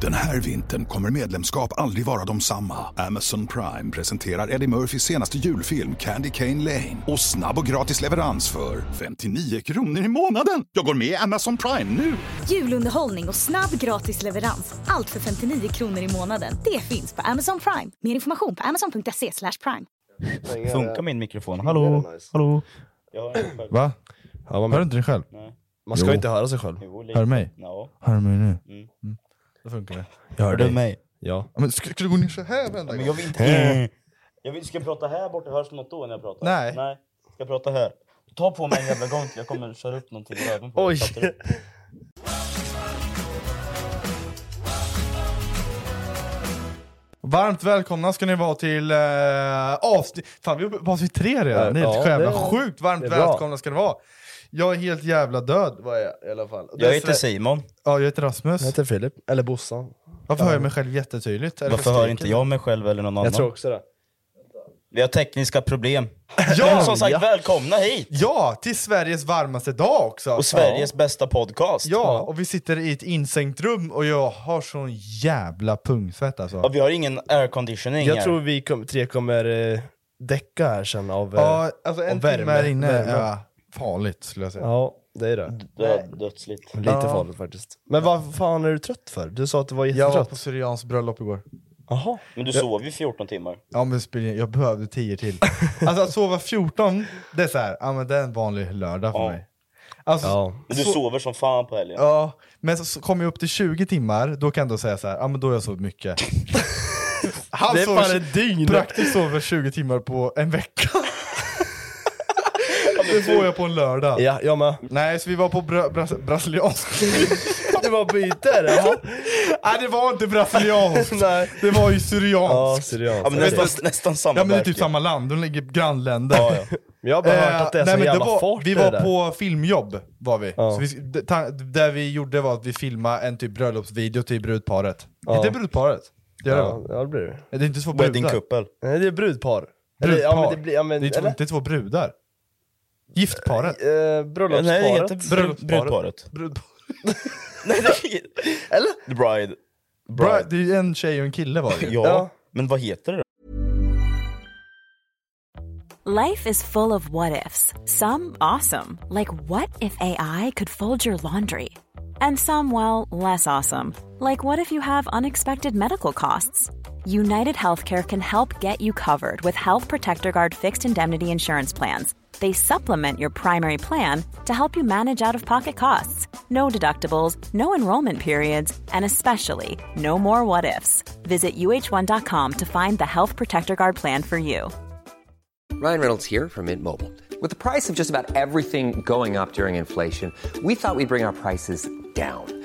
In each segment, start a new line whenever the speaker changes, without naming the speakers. Den här vintern kommer medlemskap aldrig vara de samma. Amazon Prime presenterar Eddie Murphys senaste julfilm Candy Cane Lane. Och snabb och gratis leverans för 59 kronor i månaden. Jag går med i Amazon Prime nu!
Julunderhållning och snabb gratis leverans. Allt för 59 kronor i månaden. Det finns på Amazon Prime. Mer information på amazon.se slash prime.
Funkar min mikrofon? Hallå? Hallå? Jag hör inte själv.
Va?
Ja, man,
Hör du inte dig själv?
man ska
Jo.
inte höra sig själv.
Jo,
Hör du mig?
Ja.
Hör du mig nu?
Mm.
Då funkar det.
Jag hör
Hör du
dig.
mig?
Ja.
Ja, Men ska, ska du gå ner så här varenda
Men
gång?
jag vill inte... jag vill, ska jag prata här borta? Hörs något då när jag pratar?
Nej.
Nej. Ska jag prata här? Ta på mig en jävla gång till jag kommer köra upp någonting i röven på dig.
Oj!
Fattar du?
Varmt välkomna ska ni vara till eh, avsnitt... Fan vi är uppe på avsnitt tre redan. Ni är
Ja,
helt jävla
det-
sjukt varmt
det är bra.
välkomna ska ni vara. Jag är helt jävla död var jag i alla fall.
Jag heter Simon.
Ja, jag heter Rasmus.
Jag heter Filip, eller Bossan.
Varför hör jag mig själv jättetydligt? Eller
Varför
skriker
hör inte jag mig själv eller någon annan?
Jag tror också det.
Vi har tekniska problem.
Ja,
Men som sagt,
ja.
välkomna hit!
Ja, till Sveriges varmaste dag också!
Och Sveriges bästa podcast.
Ja, och vi sitter i ett insänkt rum och jag har sån jävla pungsvett alltså.
Och vi har ingen airconditioning
Jag
här.
tror vi kom, tre kommer eh, däcka här sen av... eh,
Ja, alltså en
och värme.
timme här inne
Värme.
är farligt skulle jag säga.
ja, det är det.
Dö- Dödsligt.
Lite
Ja.
farligt faktiskt. Men vad fan är du trött för? Du sa att du var
Jag var
jättetrött.
på Syrians bröllop igår.
Jaha.
Men du sov ju 14 timmar.
Ja men spelar ingen- jag behövde 10 till. Alltså att sova 14, det är så här, ja men det är en vanlig lördag för
Ja.
mig. Alltså,
Ja.
Men du sover som fan på helgen.
ja, men så- så kommer jag upp till 20 timmar, då kan jag då säga så här, ja men då har jag sovit mycket. Han
Det är
sover
fan
tj-
ett dygn!
praktiskt sover 20 timmar på en vecka. det får jag på en lördag.
Ja, jag med.
Nej, så vi var på bra, bras, brasiliansk.
Du var byte här, jaha.
Nej det var inte brasilianskt,
Nej.
det var ju
Ja,
syrianskt.
seriöst.
Ja, men
Okej.
nästan, nästan samma
Ja men det är typ
verk.
samma land, de ligger grannländer.
Ja, ja.
Men jag har bara hört
Eh,
att det är
nej,
sån
men
jävla
var,
fart
Vi
i det
var
där.
på filmjobb, var vi.
Ja.
Så vi d- ta, där vi gjorde var att vi filmade en typ bröllopsvideo till brudparet. Heter det brudparet? Det gör det
Ja,
va?
ja, det blir det.
Det är inte två
Wedding
brudar.
couple.
Nej, det är brudpar. Eller,
Brudpar.
Ja, men det blir, ja, men,
Det är två,
eller?
inte två brudar. Giftparet.
Eh,
Ja,
bröllopsparet.
Nej, det heter brud-
Bröllopsparet.
brudparet.
Brudparet.
Nej, det Eller? The bride.
Bra, det är ju en tjej och en kille var det ju.
Ja.
Ja.
Men vad heter det då?
Life is full of what ifs. Some awesome, like what if AI could fold your laundry? And some, well, less awesome, like what if you have unexpected medical costs? United Healthcare can help get you covered with Health Protector Guard fixed indemnity insurance plans. They supplement your primary plan to help you manage out of pocket costs. No deductibles, no enrollment periods, and especially no more what ifs. Visit uh1.com to find the Health Protector Guard plan for you.
Ryan Reynolds here from Mint Mobile. With the price of just about everything going up during inflation, we thought we'd bring our prices down.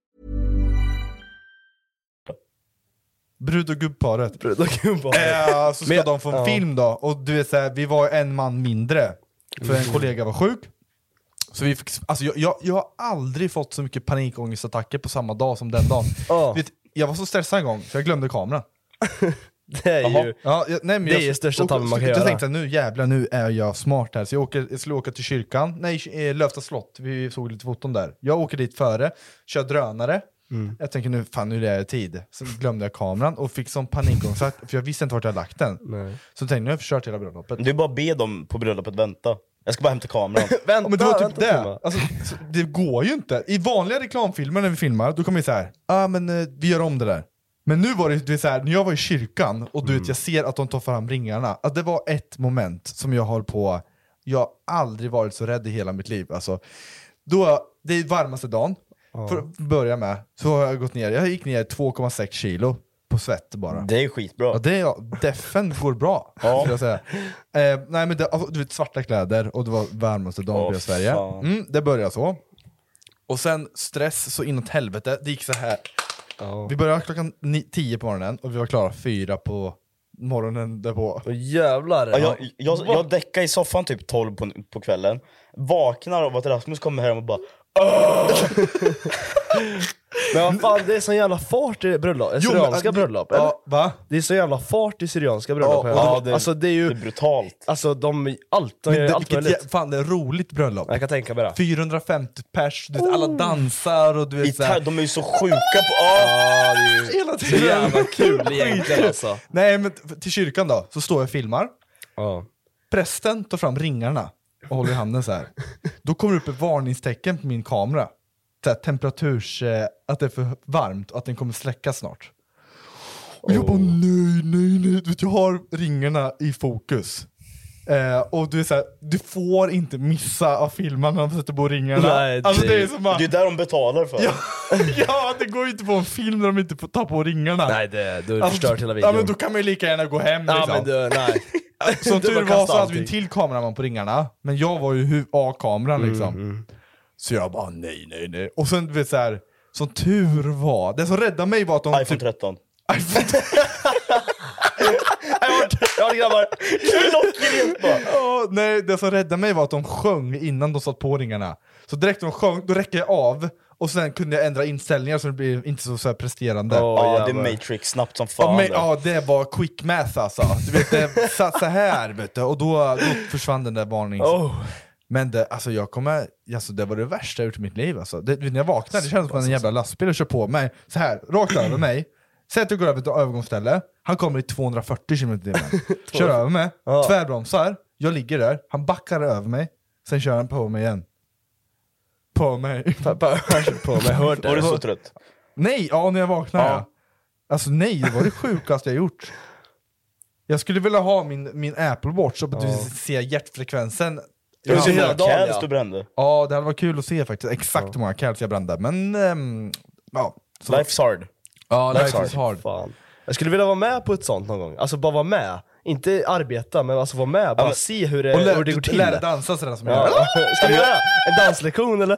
Brud och gubbparet.
Brud och gubbar.
Eh, så ska
Men-
de få en
ja.
film då, och du vet såhär, vi var en man mindre, för en kollega var sjuk. Så vi fick, alltså jag, jag, jag har aldrig fått så mycket panikångestattacker på samma dag som den dagen.
Ja.
Vet, jag var så stressad en gång, så jag glömde kameran.
Det är
Jaha.
ju...
Ja, jag, nej, men
Det är ju största tabben man kan
jag
göra.
tänkte jag, nu jävlar, nu är jag smart här. Så jag, åker, jag skulle åka till kyrkan, nej eh, Lövsta slott, vi såg lite foton där. Jag åker dit före, kör drönare. Jag tänker nu, fan nu är det tid. Så glömde jag kameran och fick sån panikångest, för jag visste inte vart jag hade lagt den. Så tänkte jag, nu har jag förstört hela bröllopet.
Du bara be dem på bröllopet vänta. Jag ska bara hämta kameran.
Vänta,
Ja, men det var typ
vänta,
det.
Timma.
Alltså, så- det går ju inte. I vanliga reklamfilmer när vi filmar, då kommer vi så här, ah, men eh, vi gör om det där. Men nu var det, det är så här, när jag
Mm.
var i kyrkan och du vet, jag ser att de tar fram ringarna, att det var ett moment som jag har på Jag har aldrig varit så rädd i hela mitt liv. Alltså, då, det är varmaste dagen, för att börja med, så har jag gått ner. Jag gick ner 2,6 kilo på svett bara.
Det är skitbra.
Ja, det är, defen går bra, skulle jag säga. Eh, nej, men det, alltså, du vet, svarta kläder och det var varmaste dagen
Åh,
i Sverige.
fan.
Mm, det började så. Och sen stress så inåt helvete. Det gick så här. Vi började klockan ni- 10 på morgonen och vi var klara fyra på morgonen därpå.
Och jävlar.
Ja, jag, jag, jag däckade i soffan typ 12 på, på kvällen, vaknar av att Rasmus kommer hem och bara
Men vad fan, det är sån jävla fart i bröllop,
Jo, men,
syrianska
äh,
bröllop. eller?
Ja, va?
Det är så jävla fart i syrianska bröllop.
Ja,
här.
ja, det-
alltså det är ju,
det är brutalt.
alltså de, allt, de
Men
gör
det,
allt
vilket,
möjligt.
jä- fan det är roligt bröllop.
Jag kan Oh. tänka mig det.
450 pers, du vet, alla dansar och du vet så
Gitarr,
här,
de är ju så sjuka på... Ah!
Ja, det är ju
Hela
så
tiden.
jävla kul egentligen alltså.
Nej men t- till kyrkan då, så står jag och filmar.
Ja.
Prästen tar fram ringarna och håller i handen så här. Då kommer det upp ett varningstecken på min kamera. Så här, temperaturs... Eh, att det är för varmt och att den kommer släcka snart. Och jag bara nej, nej, nej. Du vet, jag har ringarna i fokus. Eh, och du är så här, du får inte missa att filma när de sätter på ringarna.
Nej,
alltså, det
det-
är som att,
Det är där de betalar för.
ja, ja, det går ju inte på en film när de inte får ta på ringarna.
Nej, det, du har
Alltså,
förstört hela
Ja,
videon.
men då kan man ju lika gärna gå hem
Ja,
liksom. Alltså,
men du, nej.
Som
Det
tur
var
var
kasta
så hade vi en
allting.
till kameraman på ringarna, men jag var ju hu- A-kameran liksom. Så jag bara nej, nej, nej. Och sen du vet så här, som tur var, det som räddade mig var att de... typ-
iPhone 13.
iPhone 13.
Ja grabbar,
Klockrent bara!
Ja, nej, det som räddade mig var att de sjöng innan de satt på ringarna. Så direkt de sjöng, då räcker jag av och sen kunde jag ändra inställningar så det blev inte så, så här presterande.
Åh,
ja, det är
jävlar.
Matrix, snabbt som
Ja,
fan.
men,
det.
ja, det var quick math alltså. Du vet, det satt så här vet du, och då, då försvann den där varnings...
Oh.
Men det, alltså jag kommer, alltså det var det värsta jag gjort i mitt liv alltså. det, du vet, När jag vaknade, det kändes
Alltså,
som att en jävla lastbil och kör på mig. så här rakt över mig. Säg att jag går över ett övergångsställe, han kommer i 240 km i timmen. Kör över mig, tvärbromsar, jag ligger där, han backar över mig, sen kör han på mig igen. På mig.
på mig, hört
Var du så
det.
trött?
Nej, ja när jag vaknade.
Ja.
Ja. Alltså nej, det var det sjukaste jag gjort. Jag skulle vilja ha min, min Apple Watch så att du ser hjärtfrekvensen.
Det var
Ja,
så
hela
många
dagen,
calves
ja.
du brände.
Ja, det hade varit kul att se faktiskt exakt hur många calves jag brände. Men ehm, ja, så,
Life's hard.
ja, life, is hard.
Fan. Jag skulle vilja vara med på ett sånt någon gång. Alltså bara vara med. Inte arbeta, men alltså vara med. Bara
men-
se hur
Och
det, hur det
lär,
går till.
lär dig dansa sådär som jag gör.
Ja. Ska vi göra en danslektion eller?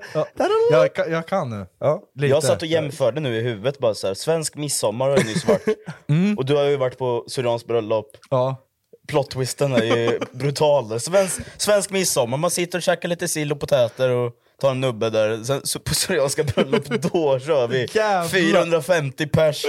Jag, kan- jag kan nu.
Ja.
Lite.
Jag satt och jämförde nu i huvudet bara så här. svensk midsommar har jag nyss varit. Och du har ju varit på Syrians bröllop.
Ja.
Plot-twisten är ju brutal. Svensk, svensk midsommar, man sitter och käkar lite sill och potäter och tar en nubbe där. Sen så på Syrianska bröllop, då kör vi
Jävlar.
450 pers.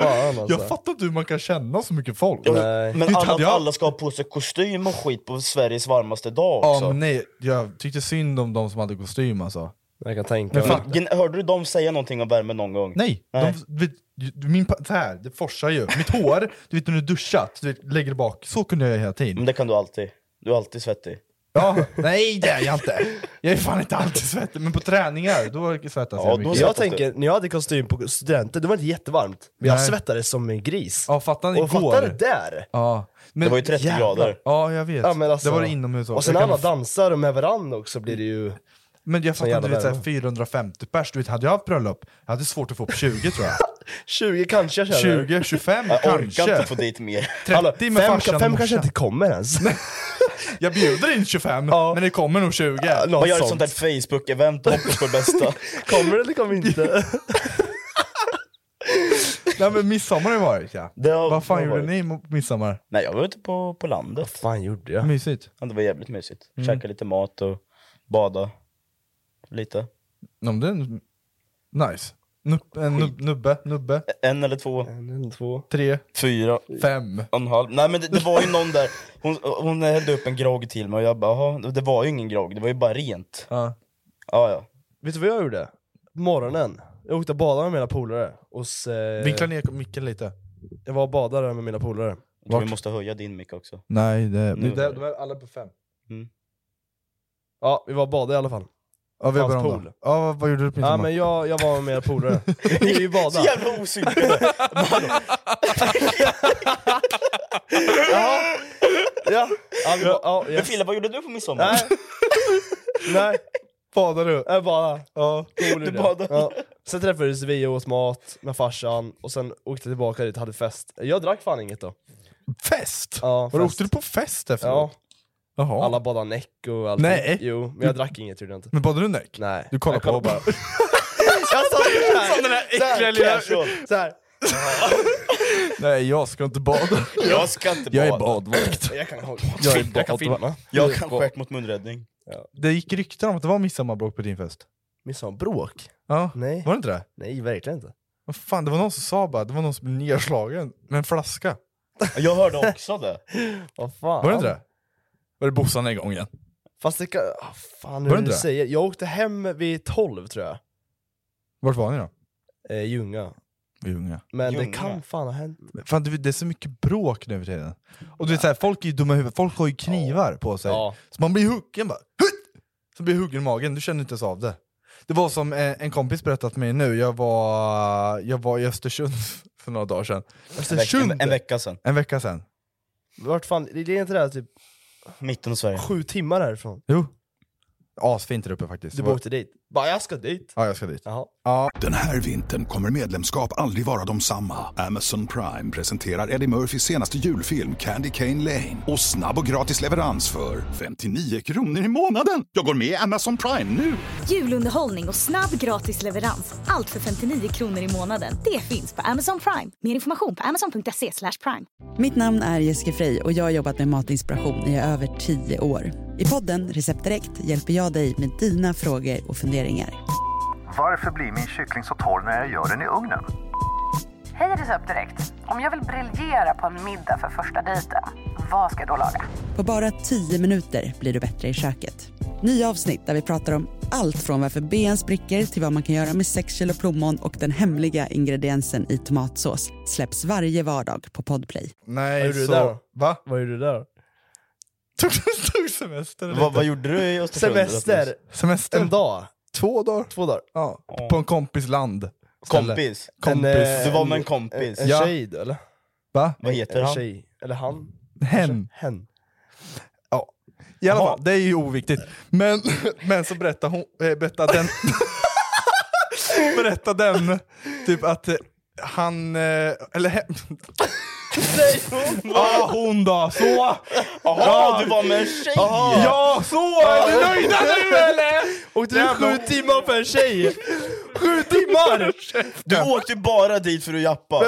Fan alltså.
Jag fattar inte hur man kan känna så mycket folk.
Nej.
Men
Hur hade
alla,
jag-
alla ska ha på sig kostym och skit på Sveriges varmaste dag
Ja,
också.
men nej, jag tyckte synd om de som hade kostym alltså.
Jag kan tänka
Men
mig.
fan-
Gen- Hörde du dem säga någonting om värme någon gång?
Nej,
Nej.
De, vet, du- min, pa- så här, det forsar ju. Mitt hår, du vet när du duschat, du vet, lägger det bak. Så kunde jag göra hela tiden.
Men det kan du alltid. Du är alltid svettig.
Ja, nej det är jag inte. Jag är fan inte alltid svettig, men på träningar då svettas
Ja,
jag
då
mycket.
Jag
svettas
tänker, när jag hade kostym på studenten, det var inte jättevarmt. Men jag
Nej.
svettades som en gris.
Ja, fattar ni
och fattar det
igår?
där?
Ja, men,
Det var ju 30
jävlar.
grader.
ja, jag vet.
Ja, men alltså-
det var det inomhus också.
Och sen
Jag
när
kan-
alla dansar med varandra också blir det ju...
Men jag fattar
jävla
inte, du vet, så här,
värme.
450 pers, du vet, hade jag haft bröllop, jag hade svårt att få upp 20 tror jag.
20 kanske jag känner.
20, 25
Jag orkar
kanske.
inte få dit mer.
30 med
fem,
farsan och
fem kanske
morsan.
inte kommer ens.
Jag bjuder in 25,
Ja.
men det kommer nog 20.
Man gör ett sånt där Facebook-event och hoppas på det bästa.
Kommer det eller kommer inte?
Nej men midsommar har ju varit ja.
Det har-
Vad fan
det har
gjorde ni mot midsommar?
Nej, jag var ute på, på landet.
fan gjorde jag?
Mysigt.
Ja, det var jävligt mysigt.
Mm.
Käka lite mat och bada lite.
Ja, men det är en- nice. Nupp, en nubb, nubbe, nubbe,
En eller två,
En, två.
tre,
fyra,
fem.
och en halv. Nej men det, det var ju någon där, hon, hon hällde upp en grogg till mig och jag bara "Jaha, det var ju ingen grogg, det var ju bara rent.
Ja.
Ja, ja.
Vet du vad jag gjorde? På Morgonen. Jag åkte och badade med mina polare. Hos, eh,
Vinkla ner micken lite.
Jag var och badade med mina polare.
Jag tror vi
Vart?
måste höja din mick också.
Nej, Mm. det...
Nu.
det de är alla på fem.
Ja, vi var och badade i alla fall.
Ja, vi har
Hans
börjat om då.
pool.
Ja, vad gjorde du på
Ja
midsommar?
men jag, jag var med mina polare. Vi är ju bada.
Så jävla osynlig.
Ja. Ja, vi ba- ja,
Men
yes.
Filip, vad gjorde du på midsommar?
Nej. Nej.
Badade du?
Jag bara, ja, du
badade.
Ja. Sen träffades vi och åt mat med farsan, och sen åkte jag tillbaka dit och hade fest. Jag drack fan inget då.
Fest?
Ja,
Var du,
fest.
åkte du på fest
Ja,
efteråt? Jaha.
alla badade näck och allt.
Nej.
Jo, men jag drack inget gjorde jag inte.
Men badade du näck?
Nej.
Du kollar
Jag
på och bara...
Jag sa såhär,
den där
såhär,
lilla-
casual, såhär.
Nej, jag ska inte bada.
Jag ska inte
Jag är
bada.
badvakt.
Jag kan hålla
Jag är
Jag kan
badvakt.
filma.
Jag kan skärt mot munräddning.
Det gick rykten om att det var midsommarbråk på din fest.
Midsommarbråk?
Ja.
Nej.
Var det inte det?
Nej, verkligen inte.
Vad fan, det var någon som sa bara, det var någon som blev nedslagen med en flaska.
Jag hörde också det.
Vad fan?
Var det inte det? Var det Bossan den gången?
Fast det kan... Ah, fan,
Var
hur
det
du
inte det?
säger. Jag åkte hem vid 12 tror jag,
Vart var ni då?
eh, Ljunga.
Vi unga.
Men
Ljunga?
det kan fan ha hänt.
Fan, du vet, det är så mycket bråk nu för tiden. Och du vet, så här, folk är ju dumma i huvudet, folk har ju knivar på sig.
Ja.
Så man blir huggen bara. Hutt! Så blir jag huggen i magen, du känner inte ens av det. Det var som eh, en kompis berättat för mig nu, jag var, jag var i Östersund för några dagar sedan.
En vecka, en, en vecka sedan.
En vecka sedan.
Vart fan, det är inte det här typ
Mitten av Sverige.
sju timmar härifrån?
Jo. Asfint där uppe faktiskt.
Du bara åkte dit? Bara jag ska dit.
Ja, jag ska dit.
Jaha.
Den här vintern kommer medlemskap aldrig vara de samma. Amazon Prime presenterar Eddie Murphys senaste julfilm Candy Cane Lane. Och snabb och gratis leverans för 59 kronor i månaden. Jag går med i Amazon Prime nu!
Julunderhållning och snabb gratis leverans. Allt för 59 kronor i månaden. Det finns på Amazon Prime. Mer information på amazon.se slash prime.
Mitt namn är Jessica Frey och jag har jobbat med matinspiration i över tio år. I podden Recept Direkt hjälper jag dig med dina frågor och funderingar.
Varför blir min kyckling så torr när jag gör den i ugnen?
Hej Recept Direkt! Om jag vill briljera på en middag för första dejten, vad ska jag då laga? På bara tio minuter blir du bättre i köket. Nya avsnitt där vi pratar om allt från varför ben spricker till vad man kan göra med 6 kilo plommon och den hemliga ingrediensen i tomatsås släpps varje vardag på Podplay.
Nej,
Vad gjorde du
så...
där då?
Va?
Vad gjorde du där då?
Tog, tog semester? eller
Vad,
inte?
vad gjorde du i Östersund?
Semester,
semester?
en dag,
Två dagar.
två dagar.
Ja. På en kompis land. Ställe.
Kompis.
Kompis.
eh,
Du var med en kompis.
En
Ja.
tjej då, eller?
Va?
Vad heter
En
han?
tjej, eller han?
Hen.
Hen.
Ja. I alla fall, det är ju oviktigt. Men, men så berättar hon, eh, berättar den, berättar den typ att eh, han, eh, eller he, ah, hon då, så!
Jaha, du var med en tjej!
Ja, så! Är ni nöjda nu eller?
Åkte du sju timmar för en tjej? Sju timmar!
Du åkte bara dit för att jappa.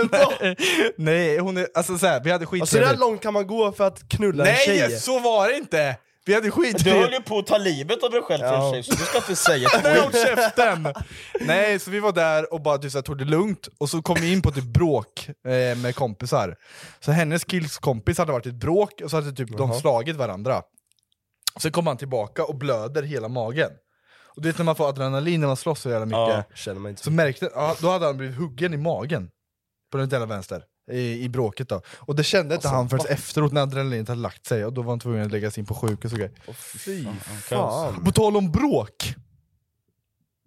Nej, hon är, alltså såhär, vi hade
Alltså hur
skittrevligt.
långt kan man gå för att knulla en tjej?
Nej, så var det inte! Vi hade
Du höll
skittrevligt.
ju på att ta livet av dig själv för en
Ja.
tjej, så du ska inte säga
Nej,
ett
håll käften! Nej, så vi var där och bara typ, så här, tog det lugnt, och så kom vi in på typ bråk eh, med kompisar. Så hennes killskompis hade varit i ett bråk, och så hade typ de slagit varandra. Sen kom han tillbaka och blöder hela magen. Och du vet när man får adrenalin när man slåss så jävla mycket,
Känner man inte
så märkte ja, då hade han blivit huggen i magen. På den jävla vänster. I, I bråket då. Och det kände
Alltså,
inte han förrän efteråt när adrenalinet hade lagt sig, och då var han tvungen att läggas in på sjukhus och grejer.
Åh, Fy fan.
På tal om bråk.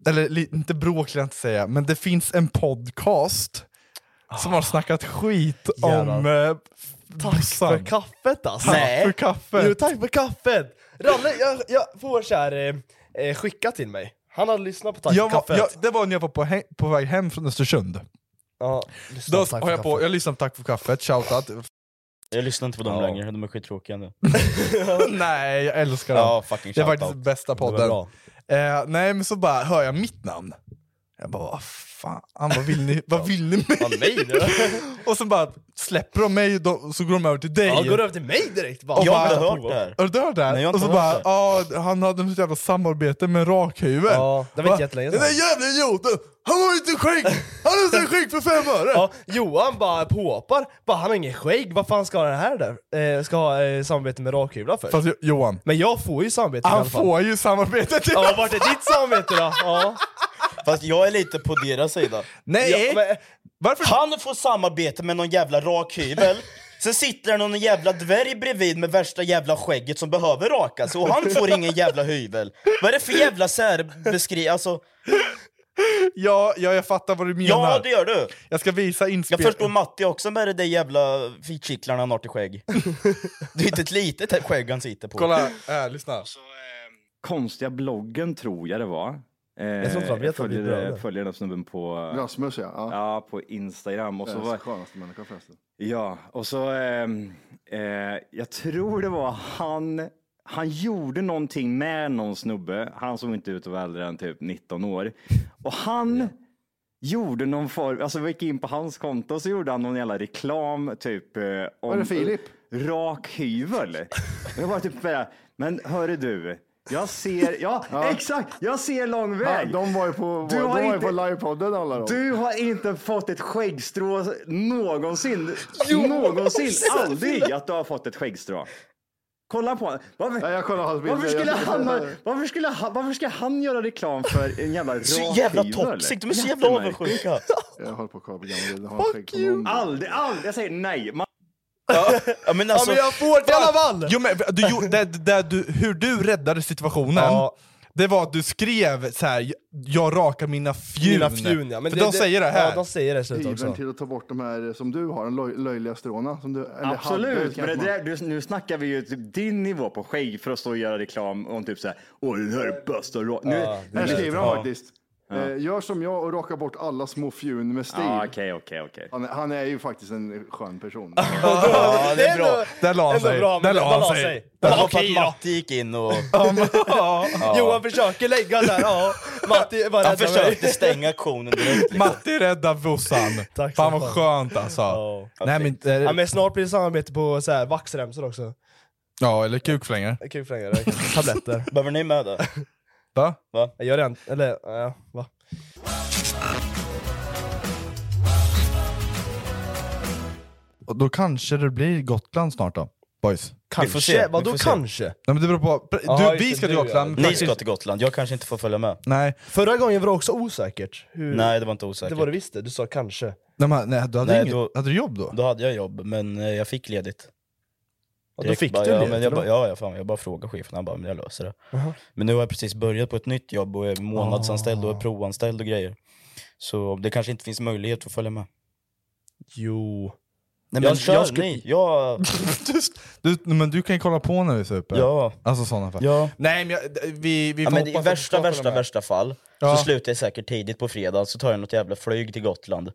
Eller li- inte bråk vill jag inte säga, men det finns en podcast som har snackat skit
Jävlar.
om... Eh,
Tack för
kaffet!
kaffet alltså!
Tack för kaffet!
Jo, tack för kaffet! Ralle, jag, jag får så här, eh, eh, skicka till mig. Han hade lyssnat på Tack
jag
för
var,
kaffet.
jag, det var när jag var på, he- på väg hem från Östersund.
ja, lyssna
Då
på Tack
har
för
jag, på,
kaffet.
jag lyssnade på Tack för kaffet, shoutout.
Jag lyssnar inte på dem
Ja.
längre, de är skittråkiga nu.
Nej, jag älskar den.
Ja, fucking
det är faktiskt
shoutout.
bästa
Det
podden.
var
Eh, nej, men så bara hör jag mitt namn. Jag bara, vad fan, vad vill ni, vad vill ni mig?
Fan, mig nu?
Och så bara släpper de mig och då- så går de över till dig.
Ja, går över till mig direkt bara.
Jag
Vad
har inte
är
hört det här.
Har du hört det
Nej, jag
här?
har
Och
inte
så bara,
hört
ja han hade något jävla samarbete med rakhyveln.
Ja, det var
Va?
inte jättelänge
Den där
sedan.
jävla idioten, han har ju inte skägg! Han har inte skägg för fem öre!
Ja, Johan bara påhoppar, bara han har ingen skägg, vad fan ska han ha det här där? Eh, ska ha eh, samarbete med rakhyvlar för?
Fast Jo- Johan,
Men jag får ju samarbete i alla
han
fall.
får ju samarbetet!
Ja, vart är ditt samarbete då? Ja.
Fast jag är lite på deras sida.
Nej!
Eh?
Ja, men,
Varför?
Han får samarbete med någon jävla rakhyvel Sen sitter det någon jävla dvärg bredvid med värsta jävla skägget som behöver rakas och han får ingen jävla hyvel. Vad är det för jävla särbeskriv... Alltså,
Ja, ja, jag fattar vad du menar.
ja, det gör du!
Jag ska visa inspel...
Jag förstår Matti också med det där jävla fitkittlarna han har till skägg. Det är inte ett litet skägg han sitter på.
Kolla, äh, lyssna.
Konstiga bloggen tror jag det var. Eh,
Jag tror inte de vet att vi är
följer,
bröder.
följer den snubben på...
Rasmus ja. ja.
Ja, på Instagram. Och så
Världens
var,
skönaste människa förresten.
Ja, och så... ehm, eh, jag tror det var han... Han gjorde någonting med någon snubbe. Han såg inte ut att vara äldre än typ 19 år. Och han gjorde någon form... Alltså vi gick in på hans konto och så gjorde han någon jävla reklam typ... Eh, om,
Var det Filip?
Rak hyvel. Jag var typ bara, men hörru du. Jag ser, ja,
Ja.
exakt, jag ser lång
Ja,
väg.
de var ju på,
Du
de
har
var ju
inte-
på livepodden alla de.
Du har inte fått ett skäggstrå någonsin. någonsin. Aldrig att du har fått ett skäggstrå. Kolla på varför,
Nej, jag kollar hans bilder.
varför, skulle
Jag-
han, ha- varför, skulle han, varför ska han göra reklam för en jävla rak
Så jävla
hyvel?
toxic, de är så jävla
Jättemärkligt.
avundsjuka.
Jag håller på att kolla på gamla bilder. Har skägg
Fuck
på
you!
någon.
Aldrig, aldrig. Jag säger nej. Man...
Ja, men alltså,
Ja, men jag får det i alla fall!
Jo, men, du, jo, det, det, du, hur du räddade situationen, det var att du skrev så här. jag rakar mina fjun.
Mina fjun, ja, men
Mm. För
det-
de
det-
säger det här.
ja, de säger det i slutet också.
Hyvern till att ta bort de här som du har, de löj- löjliga stråna. Som du, eller hade,
Absolut,
kanske
men det
man-
där, du, nu snackar vi ju typ din nivå på skägg för att stå och göra reklam om typ såhär, åh den här är bästa ra-" Nu-
Här skriver han
Ja.
faktiskt.
Ja.
Eh, gör som jag och raka bort alla små fjun med stil.
Ja, Ah, Okej, okej, okej.
han, han är ju faktiskt en skön person.
Ja, det är bra.
Där la han
Ändå
sig.
bra, men
Där la
där
han
la
sig.
sig. Det var
Där la-
för att
Okej då.
Matti gick in och... Ja.
Johan försöker lägga där, ja. Matti var
Han
rädd för mig.
försökte stänga aktionen direkt.
Matti räddar Vossan. Fan vad skönt alltså. Nej, men, eh, det-
Ja, men snart blir det samarbete på så här, vaxremsor också.
ja, eller kukflängor.
Kukflängare, tabletter.
Behöver ni med det?
Va?
Va?
Jag gör en, eller ja, va?
Och då kanske det blir Gotland snart då, boys.
Kanske? får se, Vadå vi får se. kanske?
Nej, men det beror på. Du, vi ska till Gotland.
Ni
Praktiskt-
ska till Gotland, jag kanske inte får följa
Mm.
med.
Nej.
Förra gången var det också osäkert. Hur...
Nej, det var inte osäkert.
Det var det visst det, du sa kanske.
Nej, men, nej, du hade,
Nej,
inget,
då-
hade du jobb då?
Då hade jag jobb, men eh, jag fick ledigt.
Ja, då
Direkt
fick
bara,
du
ja,
ledigt,
men jag,
eller?
bara, ja, ja, fan, jag bara frågade chefen, han bara men jag löser det.
Jaha.
Men nu har jag precis börjat på ett nytt jobb och är månadsanställd och är provanställd och grejer. Så det kanske inte finns möjlighet att följa med.
Jo.
Nej, men
Jag
jag,
kör,
jag skulle...
ni.
Jag...
Du, men du kan ju kolla på när vi super.
Ja.
Alltså sådana fall.
Ja.
Nej men jag, d- vi, vi
Ja,
får
men I
hoppas att du
värsta,
ska
värsta,
följa med.
värsta fall
Ja.
så slutar jag säkert tidigt på fredag, så tar jag något jävla flyg till Gotland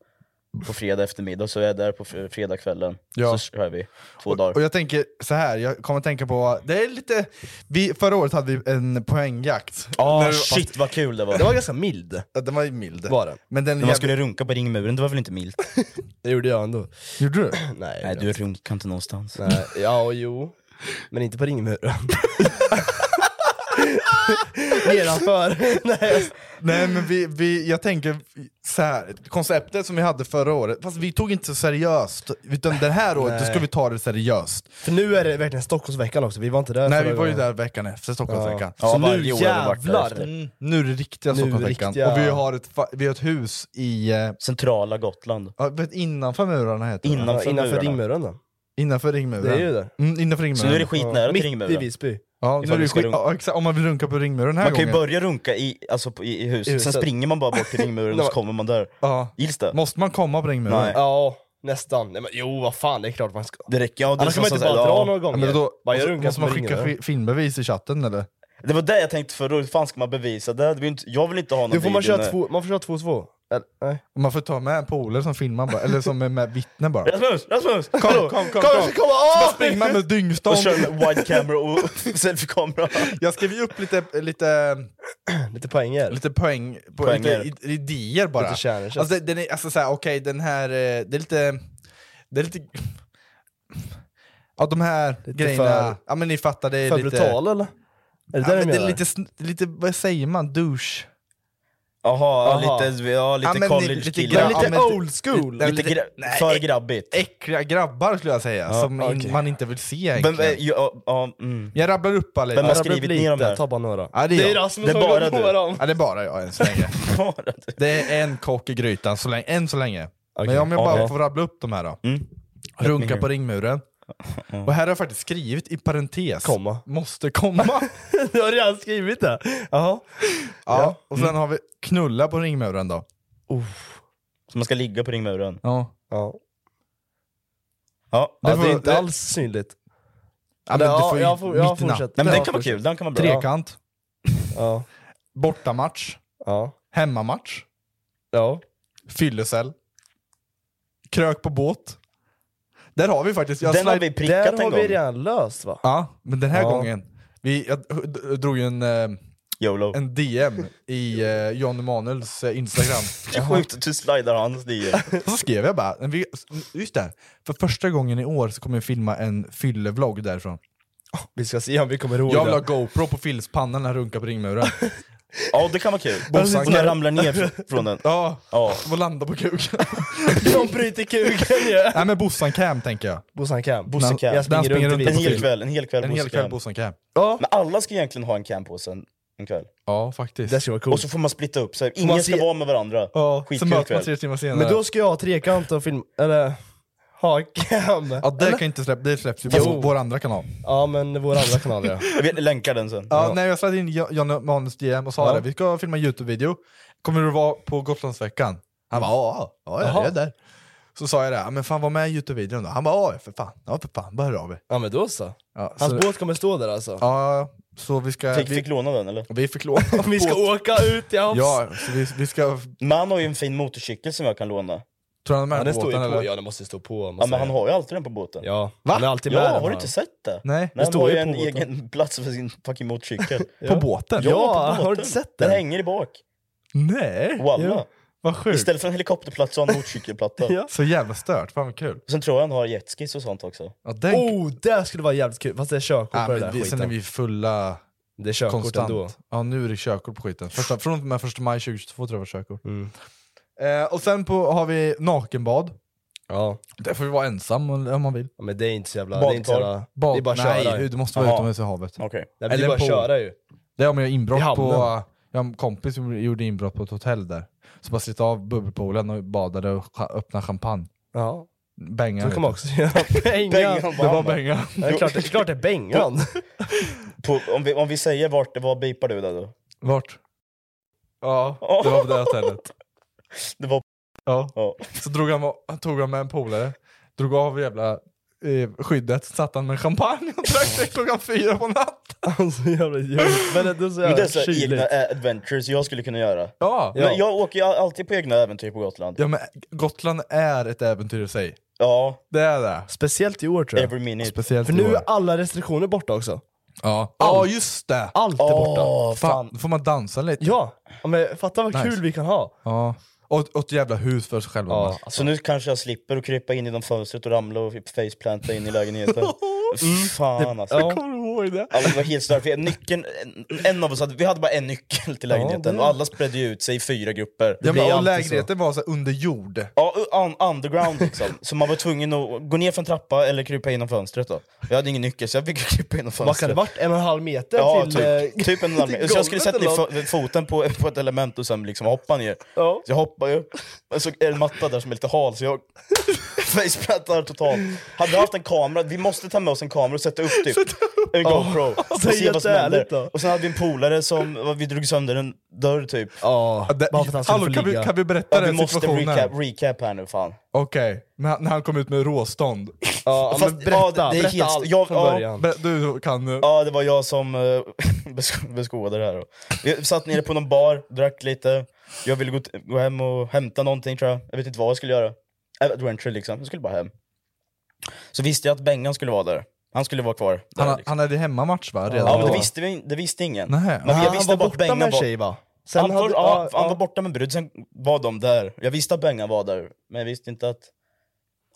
på fredag eftermiddag, så är jag där på fr- fredagskvällen.
Ja.
Så kör vi två dagar.
Och jag tänker så här, jag kommer att tänka på, det är lite, vi, förra året hade vi en poängjakt.
Ah,
När-
shit vad kul det var!
Det var ganska mild.
Ja, Den var ju mild.
Var den?
Men
När
den
man
jävla-
skulle runka på ringmuren, det var väl inte milt?
Det gjorde jag ändå.
Gjorde du?
Nej,
Nej,
det-
du runkar inte någonstans.
Nej, ja och jo. Men inte på ringmuren. Nedanför. Nej.
Nej men vi, vi, jag tänker så här. konceptet som vi hade förra året, fast vi tog inte så seriöst, utan det här året då
Nej.
ska vi ta det seriöst.
För nu är det verkligen Stockholmsveckan också, vi var inte där
Nej
förra
vi var ju
gången.
där veckan efter Stockholmsveckan.
Ja.
Så
Ja,
nu
varje år har vi varit där
jävlar!
efter.
Mm, Nu är det riktiga
Nu
Stockholmsveckan.
riktiga-
Och vi har ett, fa- vi har ett hus i, eh,
Centrala Gotland.
ja, vet, innanför murarna heter det.
Innanför,
Innanför
innanför
murarna.
ringmuren då.
Innanför ringmuren.
Det är ju det.
Mm, innanför ringmuren.
Så nu är det skitnära till
Mitt i
ringmuren.
Visby.
Ja,
Ifall
nu är det
vi ska
skit...
runka.
ja, exakt. Om man vill runka på ringmuren den här
Man kan ju
gången.
börja runka i, alltså, på, i, i, huset.
huset.
sen springer man bara bort till ringmuren och så
Nej.
kommer man där.
ja.
Gills det?
Måste man komma på ringmuren?
Nej.
Ja, nästan. Nej, men, jo, vad fan, det är klart man ska.
Det räcker, ja, det, är
Annars
som
kan man inte
som-
bara
ja.
dra
Ja,
några gånger.
men då,
bara
måste-
jag runkar
måste
så
man
ringer
skicka
det.
fi- filmbevis i chatten eller?
det var det jag tänkte förut, hur fan ska man bevisa det? det vill inte, jag vill inte ha någon
Nu får man
video
köra
nu.
två, man får köra två och två. Eller, nej.
Om Man får ta med en polare som filmar bara, eller som är med vittne bara.
Rasmus, Rasmus!
Kom, kom, kom! kom,
Kom, kom,
Så bara
åh!
springer man med dyngstång.
Och kör med wide camera och selfie-kamera.
Jag skrev ju upp lite, lite,
Lite poänger.
lite poäng, på,
Poänger.
lite i- idéer bara.
Lite kärnor.
Alltså, den är, alltså såhär, okej den här, eh, det är lite... Det är lite... Ja de här grejerna,
för-
ja men ni fattar det är
För
lite...
brutal eller? Är det
Ja,
där
men
du
det är
menar?
lite, sn- lite, vad säger man, douche?
Jaha,
Jaha.
lite, ja, lite
Ja, men
college
lite-
killar.
Ja,
Ja, lite
men-
old school.
Ja,
lite
lite-
gra-
nej,
för
äck-
grabbigt.
Äckliga grabbar skulle jag säga, som in,
okej.
man inte vill se
Vem,
egentligen.
är- ja, ja, mm.
Jag rabblar upp alla
Vem
Ja,
har
Jag
rabblar upp
skrivit
lite.
ner dem
Där,
där?
ta bara några.
Ja, det är jag.
Rasmus
Det är
som går
bara
på
du.
dem.
Ja, det är bara jag än så länge.
Bara du.
Det är en kock i grytan så länge, än så länge.
Okej,
Men om jag bara
ja.
får rabbla upp de här då.
Mm.
Runka på ringmuren. Och här har jag faktiskt skrivit i parentes. Komma. Måste komma.
du har redan skrivit det? Jaha.
Ja, och sen har vi knulla på ringmuren då.
Så man ska ligga på ringmuren?
Ja.
Ja.
Ja,
Alltså, Det, är inte alls synligt.
Ja, men du får ju mitt i natten.
Nej, men den
Ja,
kan vara kul, den kan vara bra.
Trekant.
Ja.
Bortamatch.
Ja.
Hemmamatch.
Ja.
Fyllecell. Krök på båt. Där har vi faktiskt... jag slide-
Där har vi redan löst va?
Ja, men den här
Ja.
gången. Vi, jag d- drog ju en, eh, en DM i eh, John Emanuels eh, Instagram.
Det är sjukt att du slidar hans DM.
Och så skrev jag bara, vi, just det, här, för första gången i år så kommer vi filma en fyllevlogg därifrån.
Vi ska se om vi kommer ihåg
Jag vill
det.
ha GoPro på Phils panna när han runkar på ringmuren.
Ja, det kan vara kul.
Bossan
Och när jag
kan-
ramlar ner fr- från den.
Ja,
ja.
och landa på kuken.
De bryter kuken ju!
Nej men Bossan Cam tänker jag.
Bossan Cam.
När- när han springer runt
en
på
hel
Phil.
kväll. En hel kväll
En hel kväll
Bossan
Bossan Cam.
Ja.
Men alla ska egentligen ha en cam på sig en, en kväll.
Ja faktiskt.
Det ska vara coolt.
Och så får man splitta upp sig.
Får
Ingen
man
ska
se-
vara med varandra.
Ja, så
Skitkul
möts
kväll.
man tre timmar senare.
Men då ska jag ha trekant och film... Eller... Ha cam.
Ja det kan inte släppa, det släpps ju på
Jo.
vår andra kanal.
Ja men vår andra kanal ja.
Vi länkar den sen.
Ja, Nej, jag slängde in Jo- John Manus DM och sa
Ja.
det, vi ska filma en Youtube-video. Kommer du vara på Gotlandsveckan? Han bara ja, ja, ja, jag är
Jaha.
där. Så sa jag det, ja, men fan var med i Youtube-videon då. Han bara ja, för fan, ja för fan, bara hör av er.
Ja men då så.
Ja,
Hans
så-
båt kommer stå där alltså.
Ja, så vi ska...
Fick,
vi,
fick låna den eller?
vi fick låna
Vi ska
båt.
åka ut i havs.
Ja, så vi, vi ska... Tror
Man har ju en fin motorcykel som jag kan låna.
du han är med
Ja,
på
den står ju
båten
på,
eller?
ja den måste ju stå på.
Ja,
måste
men
jag
han
säga.
har ju alltid den på båten.
Ja,
Va?
han är alltid med
Ja,
den,
har
han.
du inte sett det?
Nej.
Nej,
Det
han
står
har ju
ju på
en
båten.
egen plats för sin fucking motorcykel.
På båten?
Ja,
på båten.
har du inte sett
Den
den?
hänger i bak.
Nej!
Walla.
Vad sjukt.
Istället för en helikopterplatta så har han motorcykelplatta.
Ja.
Så jävla stört, fan vad kul.
Och Sen tror jag han har jetskis och sånt också.
Ja, den...
Oh, det skulle vara jävligt kul. Fast det är körkort
ja,
på den där
men vi, sen är
skiten.
vi fulla
Det är körkort
konstant.
ändå.
Ja, nu är det körkort på skiten. Första, från och med första maj 2022 tror jag det var körkort.
Mm.
Eh, och sen på, har vi nakenbad.
Ja.
Där får vi vara ensam om om man vill.
ja, men det är inte så jävla... Det är, inte så
Badkar.
jävla,
Bad,
det är bara att
nej,
köra ju.
du måste vara
Jaha.
utomhus i havet.
Okej.
Nej, men det
Eller
är bara att
på-
köra ju.
Det är om jag gör
I
inbrott
hamnen.
på... Jag har en kompis som gjorde inbrott på ett hotell där. Så bara slita av bubbelpoolen och badade och cha- öppnade champagne.
Ja.
Bengan.
Så
vet
kan
du.
man också göra. Bengan!
Bengan
Det var
Hammar.
Bengan.
Det är klart det, klart det är Bengan.
På, om, vi, om vi säger vart det var, beepar du det då?
Vart? Ja, det var på det hotellet.
Det var...
Ja.
Ja.
Så drog han, han tog han med en polare, drog av jävla eh, skyddet, satte han med champagne och drack det klockan fyra på natten.
Alltså jävla ljus. Men ändå så
Men det är
jävla
så här egna
kyligt.
ä- adventures jag skulle kunna göra.
Ja.
Ja.
Men jag åker ju alltid på egna äventyr på Gotland.
ja, men Gotland är ett äventyr i sig.
Ja,
Det är det.
Speciellt i år tror jag.
every minute.
Speciellt
För
i
nu
år.
är alla restriktioner borta också.
Ja, ja just det!
Allt är borta.
Åh,
Fan, då får man dansa lite.
Ja, ja, men fatta vad kul vi kan ha.
Ja. Och, ett- och ett jävla hus för sig själva.
Ja.
Så nu kanske jag slipper att krypa in genom fönstret och ramla och faceplanta in i lägenheten. Fan alltså.
Ja.
Kommer du ihåg det?
Ja, men det var helt stört. för Nyckeln, en, en av oss hade, vi hade bara en nyckel till lägenheten
det-
och alla spredde ju ut sig i fyra grupper.
Ja,
blir
men, och
alltid
lägenheten var så här under jord.
Ja, un underground liksom. Så man var tvungen att gå ner för en trappa eller krypa genom fönstret då. Jag hade ingen nyckel så jag fick krypa genom
Vad kan det
fönstret.
varit? En och en halv meter
Ja,
till... eh,
typ, typ en
till
alarm. Så jag skulle
golvet
sätta
eller
ner
något.
fo- foten på, på ett element och sen liksom hoppa ner.
Ja.
Så jag hoppar ju. Men så är det en matta där som är lite hal så jag faceplantar totalt. Hade vi haft en kamera, vi måste ta med oss en kamera och sätta upp typ en GoPro. och
Så
se vad som händer.
jätteärligt då.
Och sen hade vi en polare som, vi drog sönder en dörr typ.
Ja,
Det,
bara för att han skulle
hallå,
få
kan, vi,
ligga.
kan vi berätta
Ja, vi
den
måste
situationen?
recap, recap här nu fan.
Okej, men han- när han kom ut med råstånd.
Ja,
Fast-
men berätta,
ja, det- det är
berätta
helt-
allt
jag-
från
ja.
början.
Ber- Du kan... eh,
Ja, det var jag som eh, besk- beskådade det här. Då. Vi satt nere på någon bar, drack lite. Jag ville gå, t- gå hem och hämta någonting tror jag. Jag vet inte vad jag skulle göra. Adventure liksom. Jag skulle bara hem. Så visste jag att Bengan skulle vara där. Han skulle vara kvar. Där,
Han,
liksom.
han hade hemmamatch va? Redan
Ja, men
då?
det visste, vi, det visste ingen.
Nej.
Men jag visste bara att Bengan var...
va? Sen
Han, var,
hade-
ja,
ja,
han var borta med brud, sen var de där. Jag visste att Bengan var där, men jag visste inte att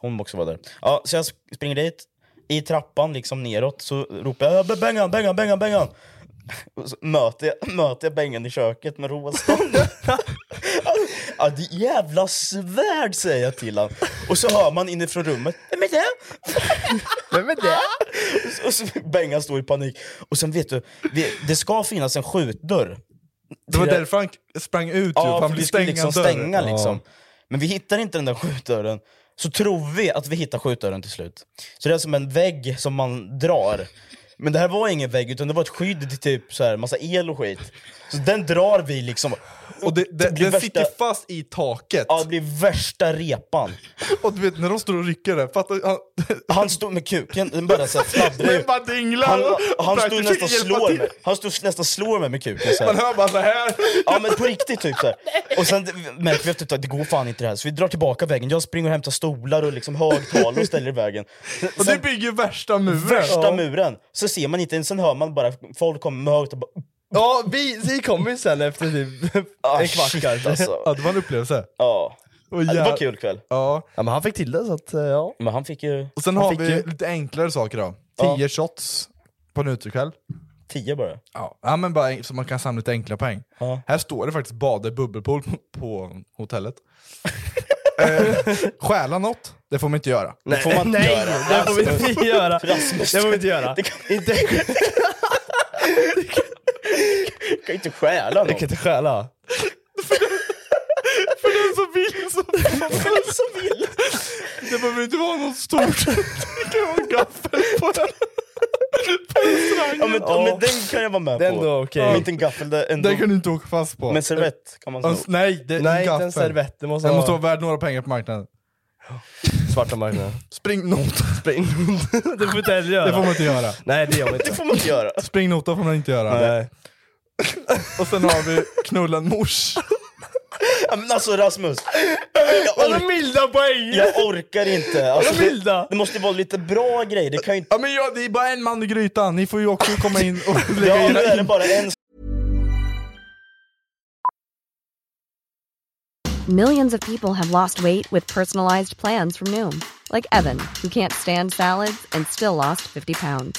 hon också var där. Ja, så jag sp- springer dit, i trappan liksom neråt så ropar jag "Äh, Bengan, Bengan, Bengan, Bengan! Och så möter jag, möter jag Bengan i köket med råstånd. ja, det jävla svärd säger jag till honom. Och så hör man inifrån rummet, vem är det? Vem är det? Och så Bengan står i panik. Och sen vet du, vi- det ska finnas en skjutdörr.
det var därför han k- sprang ut ju,
Ja,
för
för
Typ, han
vi
ville
skulle
stänga
liksom
en dörr.
stänga liksom. Men vi hittar inte den där skjutdörren. Så tror vi att vi hittar skjutdörren till slut. Så det är som en vägg som man drar. Men det här var ingen vägg utan det var ett skydd till typ så här, massa el och skit. Så den drar vi liksom.
Och det, det, den sitter fast i taket.
Ja, det blir värsta repan.
Och du vet när de står och rycker där, fattar han...
han stod med kuken, den bara så här fladdrar
Den bara dinglar.
Han, han stod
Försöker
nästan
hjälpa
slår
till.
mig. Han stod nästan slår mig med kuken så här.
Man hör bara så här.
Ja men på riktigt typ såhär. Och sen märker vi efter ett tag, typ, det går fan inte det här. Så vi drar tillbaka vägen, jag springer och hämtar stolar och liksom högtalare och ställer i vägen.
Och det bygger värsta muren.
Värsta
Ja.
muren! Så ser man inte, sen hör man bara folk kommer med högt och bara... "Ah,
Ja, vi, vi kom ju sen efter typ en kvart
shit,
kanske.
alltså.
Ja, det var en upplevelse.
Ja.
Och
Ja, det var
jä-
kul kväll.
Ja.
ja, men han fick till det så att, eh, ja.
Men han fick ju...
Och sen
han
har
fick
vi
ju-
lite enklare saker då.
Ja.
10 shots på en utekväll.
10 bara?
Ja. ja, men bara en- så man kan samla lite enkla poäng. Här står det faktiskt bada i bubbelpool på- på hotellet. eh, stjäla något, det får man inte göra.
Nej, nej, det får vi inte göra. Det får vi inte göra.
Det kan, inte... kan inte stjäla någon.
Jag kan inte stjäla.
För den som vill så För den som vill. Det behöver inte vara något stort. Det kan vara en gaffel på den.
Ja, men, ja. men den kan jag vara med
Den
på.
då, okej.
Men inte en gaffel. Det, ändå...
Den kan du inte åka fast på.
Men servett kan man sno.
Ja, s- Nej, det är
Nej,
en
inte en
gaffel.
servett, det måste
den
vara-
måste vara värd några pengar på marknaden.
Svarta marknaden.
Spring nota.
Spring nota. Det får inte heller göra.
Det får man inte göra.
Nej, det gör man inte.
Det får man inte göra.
Spring nota får man inte göra.
Nej.
Och sen har vi knulla en mors.
Ja, men alltså Rasmus,
Vadå milda poäng?
jag orkar inte. Alltså,
Vadå milda?
det, det måste vara lite bra grejer. Det kan ju inte...
Ja men ja, det är bara en man i grytan. Ni får ju också komma in och
Ja,
lägga
nu
era
är det bara en
Millions of people have lost weight with personalized plans from Noom, like Evan, who can't stand salads and still lost 50 pounds.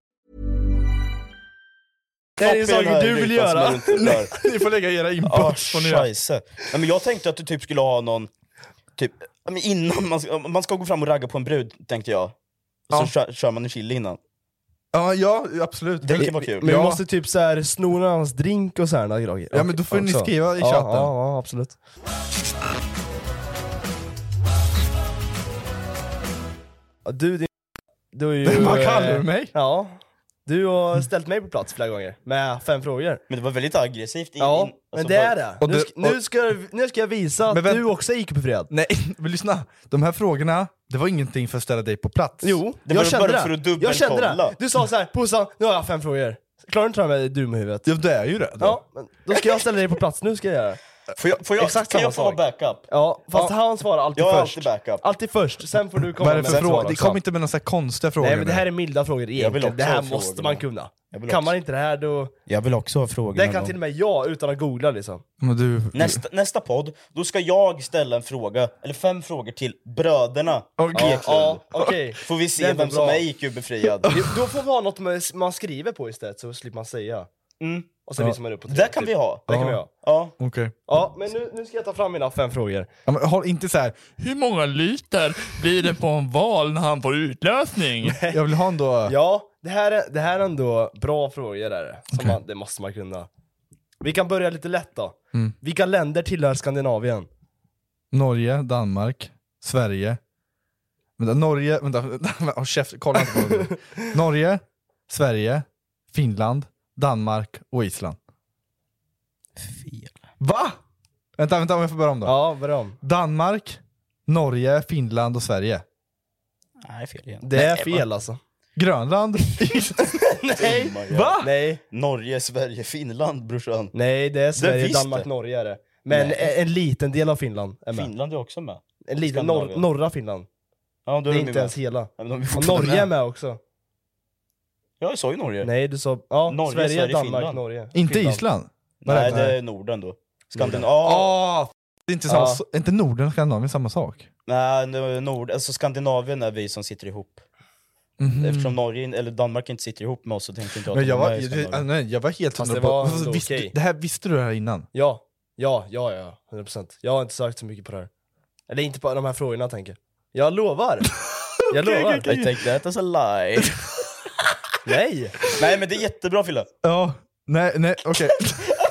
Det här
Topp
är
i den
saker
här
du vill
grytan som
göra.
är runt den där.
Ni får lägga era inputs.
Ja,
får ni göra.
Ah, scheisse. Nej, men jag tänkte att du typ skulle ha någon, typ, ja, men innan man, ska- man ska gå fram och ragga på en brud, tänkte jag. Och så kör, kör man en chili innan.
Ja, ja absolut.
Det kan vara kul.
Men vi
Ja.
måste typ så här sno någon annans drink och sådana grejer.
Ja, men då får ni
också.
skriva i
ja,
chatten.
Ja, ja absolut. Ja, Du, din... Du är ju...
Vad kallar
eh,
du mig?
Ja. Du har ställt mig på plats flera gånger med fem frågor.
Men det var väldigt aggressivt. In,
Ja,
in-
men
alltså,
det är
bara-
det. Nu ska, nu ska, nu ska jag visa att du också är IQ-befriad.
Nej, men lyssna. De här frågorna, det var ingenting för att ställa dig på plats.
Jo,
det
jag kände det. jag kände det. Du sa så här, Pussan, nu har jag fem frågor. Klarar du inte det här med dum i huvudet?
Ja, det är ju det.
Ja, men då ska jag ställa dig på plats, nu ska jag göra det.
Får jag, får jag,
Exakt
kan
samma
jag få vara
sak.
backup?
Ja, fast han svarar alltid
Jag är
först.
alltid backup.
Alltid först, sen får du komma
Vad är det
med
för
ett svar
fråga? Det
också.
kom inte med några så här konstiga frågor.
Nej men det här
nu.
är milda frågor egentligen, det
också
här
ha
måste
frågorna.
man kunna.
Jag
Kan
vill också.
man inte det här då...
Jag vill också ha frågor.
Det kan till och med jag utan att googla liksom.
Men du...
Nästa, nästa podd, då ska jag ställa en fråga, eller fem frågor till bröderna
Ja,
Eklund.
ja, okej.
Får vi
Det
se
är
vem
bra.
som är IQ-befriad.
Jo, Då får man ha något man- man skriver på istället så slipper man säga.
Mm.
Och sen
Ja.
visar man upp på typ.
Det Typ. kan vi ha.
Det kan vi
Ja.
ha.
Ja.
Okej.
Ja, men nu, nu ska jag ta fram mina fem frågor.
Ja, men håll inte så här. hur många liter blir det på en val när han får utlösning? jag vill ha en då...
Ja, det här är, det här är ändå bra frågor är det. Som
Okej.
man, det måste man kunna. Vi kan börja lite lätt då.
Mm.
Vilka länder tillhör Skandinavien?
Norge, Danmark, Sverige. Vänta, Norge, vänta, vänta, håll käft, kolla inte på mig. Norge, Sverige, Finland, Danmark och Island.
Fel.
Va? Vänta, vänta om jag får börja om då.
Ja, börja om.
Danmark, Norge, Finland och Sverige.
Nej, fel igen.
Det är fel alltså.
Grönland,
Nej!
Dumma jävel.
Va?
Nej. Oh Norge, Sverige, Finland brorsan.
Nej, det är Sverige,
finns
Danmark,
det.
Norge är det. Men
Nej.
en, en liten del av Finland är med.
Finland är också med.
En liten, norr,
Skandinavien.
norra Finland.
Ja, då
det
är
är
de
inte
ju med.
ens hela.
Ja, men de är
och
fortfarande
Norge är
med.
med också.
Ja, jag sa ju Norge.
Nej, du sa... Ja,
Norge,
Sverige,
Sverige,
Danmark,
Finland.
Norge.
Inte
Finland.
Island? Vad
Nej,
det?
det är Norden då. Skandinavien.
Ah, f- det är inte, samma,
Ja.
s- är inte Norden och Skandinavien samma sak?
Nej, nu- Nord, alltså Skandinavien är vi som sitter ihop.
Mhm.
Eftersom Norge, in- eller Danmark inte sitter ihop med oss så tänkte inte jag
Men jag,
de är
var,
i
jag,
Skandinavien.
jag, nej, jag var helt
Fast
hundra
det var
på...
ändå
visste,
okej.
det här, visste du det här innan?
Ja, ja, ja, ja, 100 procent. Jag har inte sökt så mycket på det här. Eller inte på de här frågorna jag tänker. Jag lovar! Jag
Okej,
lovar!
okej, okej. I take that as a lie.
Nej!
Nej men det är jättebra Fille!
Ja, nej, nej, okej.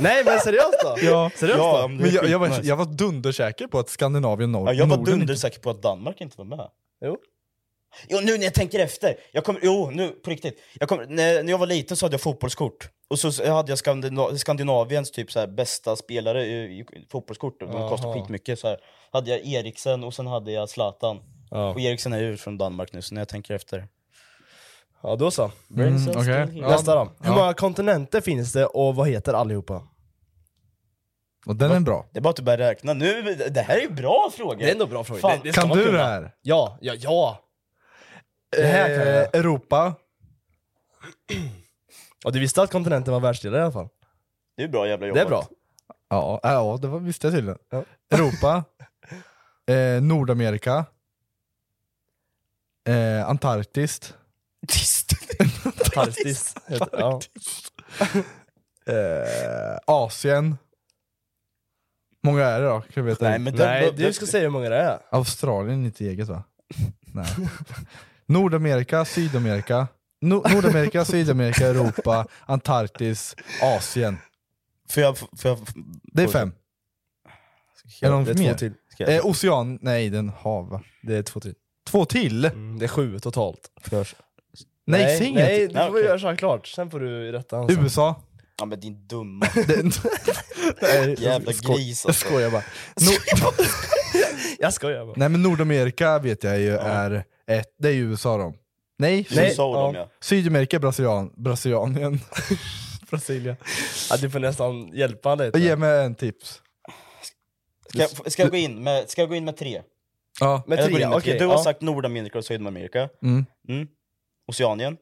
Nej men seriöst då?
ja.
Seriöst då?
men jag, jag, var, jag var dundersäker på att Skandinavien och
Ja, jag var
Norden inte-
dundersäker på att Danmark inte var med.
Jo.
Jo, nu när jag tänker efter. Jag kommer, jo, nu på riktigt. Jag kommer, när, när jag var liten så hade jag fotbollskort. Och så så hade jag Skandina- Skandinaviens typ så här, bästa spelare i, i fotbollskort. Och de kostar
Jaha.
skitmycket. Så här. Hade jag Eriksen och sen hade jag Zlatan.
Ja.
Och Eriksen är ju från Danmark nu, så när jag tänker efter.
Ja då så.
Brain cells Mm, okej. still here.
Nästa då.
Ja.
Hur många kontinenter finns det och vad heter allihopa?
Och den är bra.
Det är bara att du börjar räkna nu. Det här är ju bra frågor!
Det är ändå bra frågor.
Fan,
Det- det ska
Kan
man
du
kunna.
det här?
Ja, ja, ja! Det här kan jag.
Eh, Europa?
Och du visste att kontinenten var världsdelar i alla fall?
Det är bra jävla jobbat.
Det är bra.
Ja, äh, ja det var, visste jag tydligen.
Ja.
Europa? eh, Nordamerika? Eh, Antarktis?
Antarktis. heter- Ja.
Eh, Asien? många är det då? Kan vi veta
Nej, men det- Nej, du ska säga hur många det är.
Australien är inte eget va? Nej. Nordamerika, Sydamerika, no Nordamerika, Sydamerika, Europa, Antarktis, Asien.
Får jag, får jag,
Det är fem.
Ja,
är det någon
det är två
mer?
till. Ska jag-
Eh, ocean, nej den hav va?
Det är två till.
Två till?
Mm, det är sju totalt.
Nej, säg inget.
Nej, du får
Nej, okej.
göra så här klart. Sen får du rätta han sen.
USA?
Ja men din dumma...
Nej,
Jävla
sko-
gris,
Jag
alltså.
skojar bara.
Jag skojar bara.
Nej men Nordamerika vet jag ju är ett, det är ju USA de. Nej,
Nej,
Syd-
USA och dem, ja.
Sydamerika, Brasilian, Brasilianien.
Brasilien. Ja, du får nästan hjälpa han lite.
Ge mig en tips.
Ska jag, ska jag, gå, in med, ska jag gå in med tre?
Ja.
Eller går in med tre. Du har
ja.
sagt Nordamerika och Sydamerika.
Mm.
Mm. Oceanien.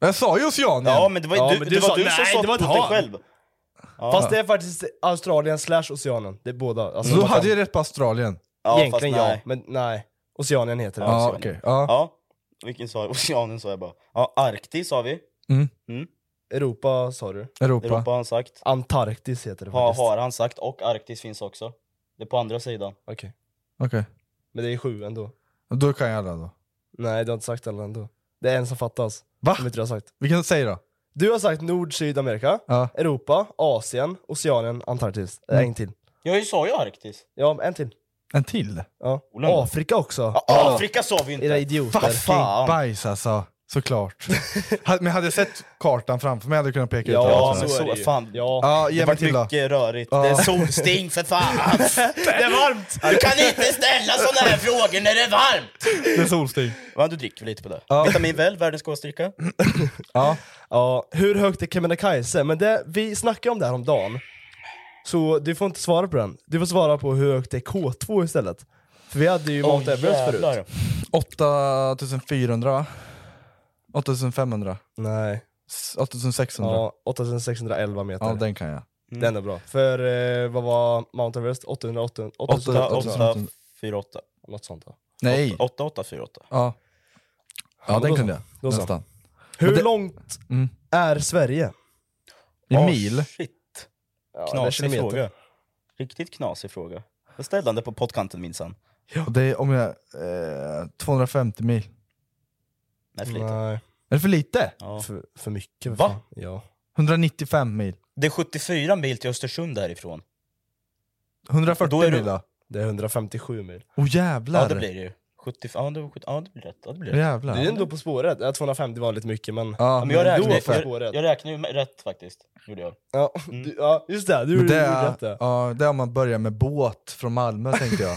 Jag sa ju Oceanien!
Ja, men det var ju
Ja,
du,
men
det
du
var
sa-
du som
nej,
sa
det var
åt
ett
dig
hav.
själv. Ja.
Fast det är faktiskt Australien slash Oceanen. Det är båda. Alltså,
Så du
de-
hade ju rätt på Australien.
Ja,
Egentligen
fast
ja,
nej.
men nej. Oceanien heter det.
Ja,
Oceanien.
okej. Ja.
Vilken sa jag? Oceanen sa jag bara. Ja, Arktis har vi.
Mm.
Europa sa du.
Europa.
Europa har han sagt.
Antarktis heter det
Ha,
faktiskt.
har han sagt. Och Arktis finns också. Det är på andra sidan.
Okej.
Okej,
Men det är sju ändå.
då kan jag alla då.
Nej, du har inte sagt alla ändå. Det är en som fattas.
Va?
Som inte du har sagt.
Vilken säger då?
Du har sagt Nord, Sydamerika,
Ja.
Europa, Asien, Oceanien, Antarktis. Äh,
Mm.
En till.
Jag sa ju Arktis.
Ja, men en till.
En till?
Ja.
Oland.
Afrika också.
Afrika sa vi ju inte.
Era idioter.
Fucking bajs alltså, såklart. Ha- men hade jag sett kartan framför mig hade jag kunnat peka ut
Ja,
allt
men
det där.
så, fan. Ja,
Ja, ge
det
mig
vart
till då.
mycket rörigt.
Ja.
Det är solsting för fan! det är varmt! Du kan inte ställa såna här frågor när det är varmt!
Det är solsting.
Va, du dricker väl lite på det? Vitamin väl, världens godaste dricka.
Ja.
Ja, hur högt är Kebnekaise? Men det, vi snackade om det här om dagen. Så du får inte svara på den. Du får svara på hur högt är K2 istället. För vi hade ju Mount Everest förut.
8400 va? 8500?
Nej.
8600? Ja.
Ja, 8611 meter.
ja, den kan jag.
Den är bra. För eh, vad var Mount Everest? 800, 800,
800,
800,
848.
Något sånt ja.
Nej.
8848.
Ja, ja
men
den
då
kunde
så.
jag.
Då så.
Nästan.
Hur
Men det-
långt
Mm.
är Sverige?
I
Åh,
mil?
Ah, Shit.
eller
Knasig
kilometer.
fråga. Riktigt knasig fråga. Jag ställde han det på poddkanten minsann.
Och det är om jag... Eh, 250 mil.
Nej, för lite.
Nej,
Är det för lite?
Ja.
för, för mycket.
Va?
fan. Ja.
195 mil.
Det är 74 mil till Östersund härifrån.
140
Då är du-
mil då?
Det är 157 mil.
Åh jävlar!
Ja, det blir det ju. 70, ja det, var 70, ja, det blir rätt. Ja, det blir rätt.
Jävlar.
Det är ändå På spåret. Ja, 250 var lite mycket men...
Ja,
men jag,
ändå
räknade,
På
jag,
spåret.
jag räknade ju med- rätt faktiskt. Gjorde jag.
Ja, du, ja just det. Du
Men
gjorde
det,
rätt
är,
där.
ja, det är om man börjar med båt från Malmö tänkte jag.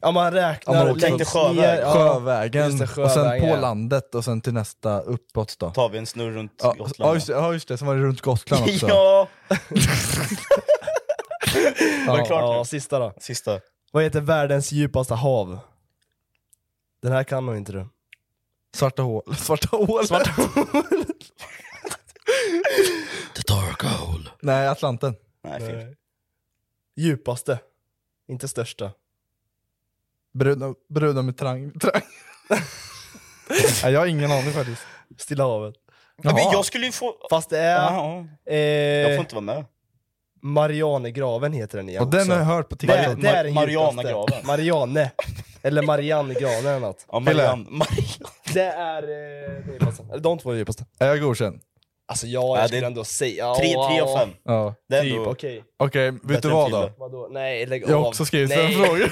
Ja man
Om
räknar...
man åker
längs
från
ner- ja,
Sjövägen
just det,
och sen
sjövägen,
på
ja.
landet och sen till nästa uppåt då.
Tar vi en snurr runt
Ja,
Gotland.
ja, just, det, ja just det, sen var det runt Gotland också.
ja!
Var det klart
ja,
nu?
sista då.
Sista.
Vad heter världens djupaste hav? Den här kan nog inte du.
Svarta hål. Svarta hålet.
Svarta
The dark hole. Nej, Atlanten.
Nej,
fel. Djupaste. Inte största.
Bruna, bruna med trang. trang. Nej, jag har ingen aning faktiskt.
Stilla havet.
Ja, men jag skulle ju få...
Fast det är...
Ja,
Eh,
Jag får inte vara med.
Marianegraven heter den igen
Och den
också.
har jag hört på TikTok.
Det, det är den
Mar-
djupaste.
Marianegraven.
Marianne. Eller Mariannegranen eller något.
Ja,
Marianne-
Det är... Eh, det är djupaste. Eller de två är djupaste.
Är jag godkänd?
Alltså ja, jag
Ja, det-
skulle ändå säga...
Tre, tre av fem.
Ja.
Det är
Typ,
ändå-
okej.
Okej, vet
Bättre
du
än
vad
Fille.
då?
Vadå? Nej, lägg av.
Jag har också skrivit en
Nej.
fråga.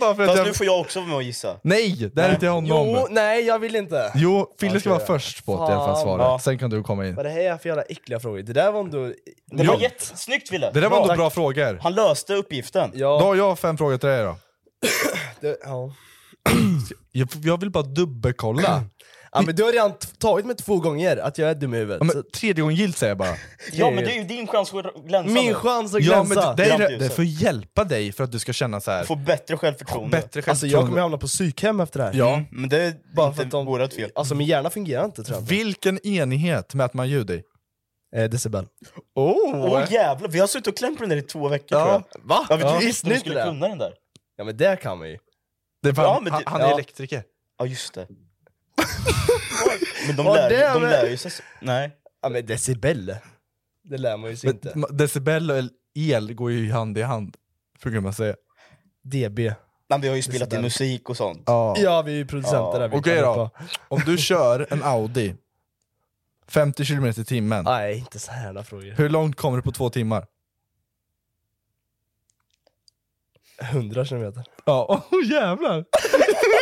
Bara för att
Fast
jag...
nu får jag också vara med och gissa.
Nej, det här är inte honom.
Jo, nej jag vill inte.
Jo, Fille ska
Okej.
vara först på att i alla fall
Fan.
svara.
Ja.
Sen kan du komma in.
Vad är det här för jävla äckliga frågor? Det där var ändå...
Det var jättesnyggt Wille!
Det där var ändå
Tack.
bra frågor.
Han löste uppgiften.
Ja,
Då har jag fem frågor till dig då.
det, ja.
Jag, jag vill bara dubbelkolla.
ja men du har redan t- tagit mig två gånger att jag är dum i huvudet.
Ja,
Så-
men, tredje gången gillt säger jag bara.
Ja men det är ju din chans att glänsa
Min
nu.
chans att
Ja,
glänsa.
men det, det, är,
Grattis.
det är för att hjälpa dig för att du ska känna så här.
Få bättre självförtroende.
bättre
Alltså jag kommer
självförtroende.
hamna på psykhem efter det här.
Ja.
Men det är
Bara
inte
för att de-
vårat fel.
Alltså min hjärna fungerar inte tror jag.
Vilken enighet mäter man ljud i?
Eh, decibel.
Oh.
Åh jävlar, vi har suttit och klämt på den där i två veckor
Ja.
tror jag.
Va?
Ja, vi trodde
Visste
inte
ni
du
inte
skulle
det?
kunna den där.
Ja men det kan man ju.
Det är fan,
Ja, men
han,
det-
han är
ja.
elektriker.
Ja just det. men de
Ja,
lär,
det
de
med-
lär ju sig. så- Nej.
Ja men decibel. Det lär man ju sig inte.
Men, decibel och el går ju hand i hand. Brukar man säga.
DB.
Nej, vi har ju spelat in
Decibel.
musik och sånt.
Ja.
Ja vi är ju producenter
Ja.
där. vi
Okej
kan
då.
hoppa.
Om du kör en Audi 50 km i timmen.
Nej inte så här frågor.
Hur långt kommer du på två timmar?
100 kilometer.
Ja, oh, jävlar!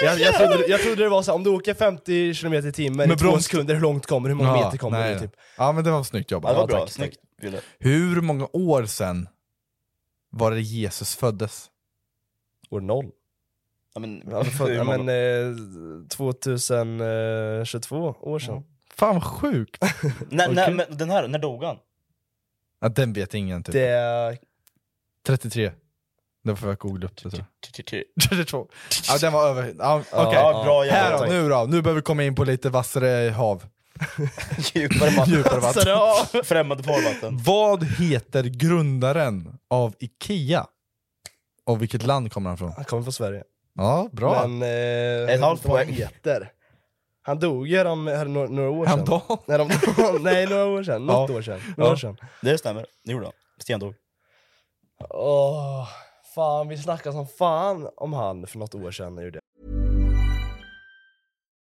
Jag, jag, trodde, jag trodde det var så här, om du åker 50 kilometer i timmen i
Med
två
broms-
sekunder, hur långt kommer du? Hur många meter kommer
nej.
du? Typ?
Ja men det var snyggt
Ja,
jobbat.
det var
Ja,
bra,
tack, tack.
snyggt Wille.
Hur många år sedan var det Jesus föddes?
År noll.
Ja, men,
Alltså, för,
hur
ja,
många-
men, eh, 2022 år sedan.
Fan vad sjukt!
när, när, men den här, när dog han?
Ja, den vet ingen typ.
Det
33. Den får jag googla upp. Det, tror jag.
Ty- ty- ty.
32. Ja, den var över... Ja, Okej.
Ja, bra
Här då,
jävlar.
nu då. Nu behöver vi komma in på lite vassare hav.
Djupare vatten. Alltså,
Djupare vatten.
Främmande farvatten.
Vad heter grundaren av IKEA? Och vilket land kommer han från?
han kommer från Sverige.
Ja, bra.
Men, eh,
Ett halvt
vad han
poäng.
heter. Han dog ju härom, här, några, några år sedan.
Häromdagen?
Nej, de, nej, några år sedan. Något
Ja.
år sedan. Några
Ja.
år sedan.
Det stämmer, det gjorde han. Sten dog.
Åh, fan, vi snackade som fan om han för något år sedan. Gjorde.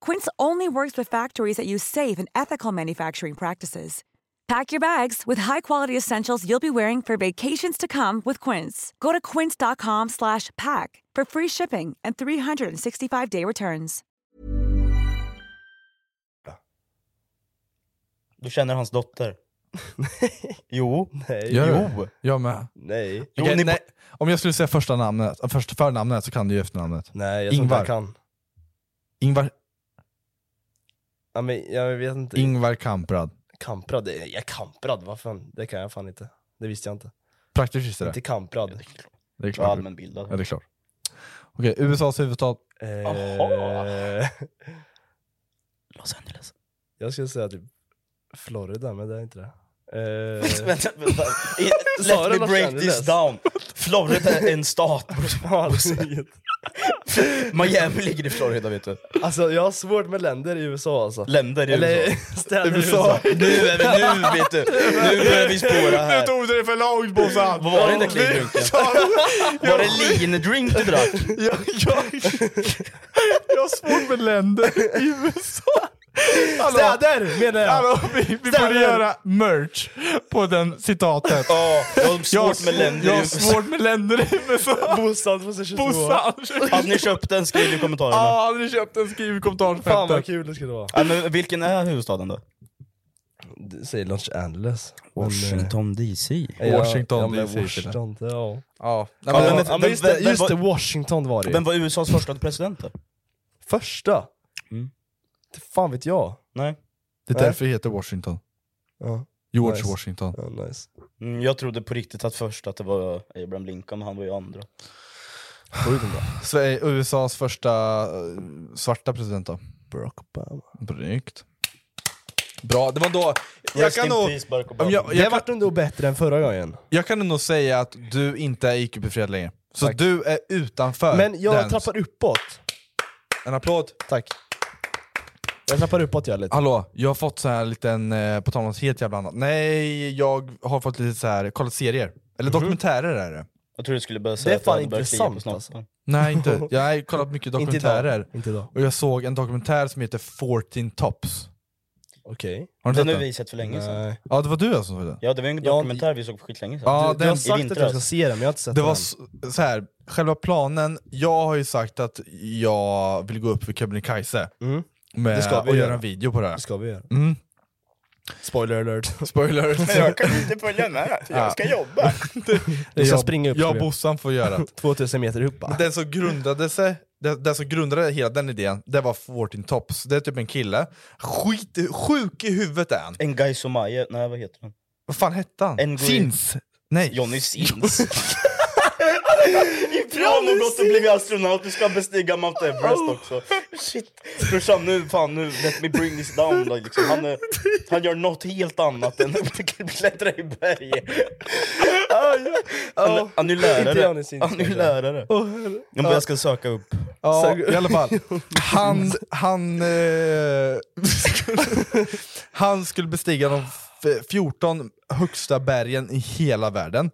Quince only works with factories that use safe and ethical manufacturing practices. Pack your bags with high-quality essentials you'll be wearing for vacations to come with Quince. Go to quince.com slash pack for free shipping and 365-day returns.
Du känner hans dotter? jo. Nej.
Gör jag? Jag med.
Nej.
Okej,
Jo, ni-
nej. Om jag skulle säga första namnet, äh, första förnamnet så kan du ju efternamnet.
Nej, jag tror inte jag kan.
Ingvar,
Ja, men jag vet inte.
Ingvar Kamprad.
Kamprad? det- Jag är kamprad, vad fan? Det kan jag fan inte. Det visste jag inte.
Praktiskt visste det.
Inte kamprad.
Det är klart. Ja, det är klart. Okej, USAs huvudstad.
Jaha! Los Angeles. Jag skulle säga typ Florida, men det är inte det. Eh,
Vänta, vänta. I-
Sa
Let me
du Los
break
Angeles?
this down. Florida är en stat. Miami ligger i Florida vet du.
Alltså jag har svårt med länder i USA alltså.
Länder i
Eller
USA.
städer i
USA.
USA.
Nu är vi- nu vet du. Nu börjar vi spåra här.
Nu
tog du det för långt Bossan!
Vad var det där clean-drinken? Var det lean-drink du drack?
Jag, jag, jag har svårt med länder i USA. Hallå.
Städer menar jag!
Hallå, vi, vi borde
Städer.
göra merch på den citatet.
Ja, jag har
jag har
svårt
s-
med länder
Jag
i
har
USA.
svårt med länder i USA.
Bossan 2022.
Bossan
Hade ni köpt den? Skriv i kommentarerna.
Ja, hade ni köpt en skriv i kommentarsfältet.
Fan vad kul det skulle vara.
Ja, men vilken är huvudstaden då?
Säg Los Angeles.
Washington DC.
Washington ja, men Washington, ja.
Ja,
Ja,
men-
men, ja,
men-
men just, det,
men-
just det,
vad-
Washington var det ju.
Vem var USAs första president då?
Första?
Mm.
Det fan vet jag.
Nej.
Det är därför det heter Washington.
Ja.
George
Nice.
Washington.
nice.
Mm, jag trodde på riktigt att först att det var Abraham Lincoln, men han var ju andra.
Så är USAs första eh, svarta president då?
Barack Obama.
Snyggt. Bra, det var då... Jag
Rest
kan
in
nog...
peace, Barack Obama.
Om jag,
Det
jag,
vart ändå bättre än förra gången.
jag kan nog säga att du inte är IQ-befriad längre. Så du är utanför
Men jag
den.
trappar uppåt.
En applåd.
Tack. Jag trappar uppåt jag lite.
Hallå, jag har fått så här liten, eh, på tal om något helt jävla annat. Nej, jag har fått lite så här, kollat serier. Eller
Mhm.
dokumentärer är det.
Jag trodde du skulle börja
Det
säga
är
att
fan
jag hade börjat klia
intressant,
på
alltså.
snoppen.
Nej, inte. Jag har kollat mycket
Inte idag.
dokumentärer.
Inte idag.
Och jag såg en dokumentär som heter 14 Tops.
Okej.
Har du
Den
sett
har vi sett för länge sedan.
Nej.
Ja, det var du alltså som såg den.
Ja, det var ju en dokumentär vi såg för skitlänge sedan.
Ja,
Du-
den-
du har
i
sagt att
vintras.
jag ska-
se den, men jag har inte sett
det
den.
var s- så här, själva planen, jag har ju sagt att jag vill gå upp för Kebnekaise
Mm.
med,
Det ska vi
och göra
göra.
en video på det här.
Det ska vi göra.
Mm.
Spoiler alert.
Spoiler alert.
kan inte följa med,
jag ska
jobba.
Vi ska
Jag-
springa upp.
jag
ska
och
vi.
Bossan får göra det.
2000 meter upp bara.
Den som grundade sig, den, den som grundade hela den idén, det var 14 Tops. Det är typ en kille, Skit, sjuk i huvudet är han.
En Guy Somaye, nej vad heter han?
Vad fan hette han?
En-
Sins! Nej.
Johnny Sins. Ifrån och gått och blivit astronaut, du ska bestiga Mount Everest också. Shit. Brorsan nu, fan nu, let me bring this down. då, Liksom. Han, är, han gör något helt annat än att klättra i berg. Han, han är ju
Inte
lärare.
Johnny Sins,
Han är ju
kanske.
lärare. Ja, men Jag ska söka upp.
Ja,
Så-
i alla fall. Han, han, eh, han skulle bestiga de f- 14 högsta bergen i hela världen.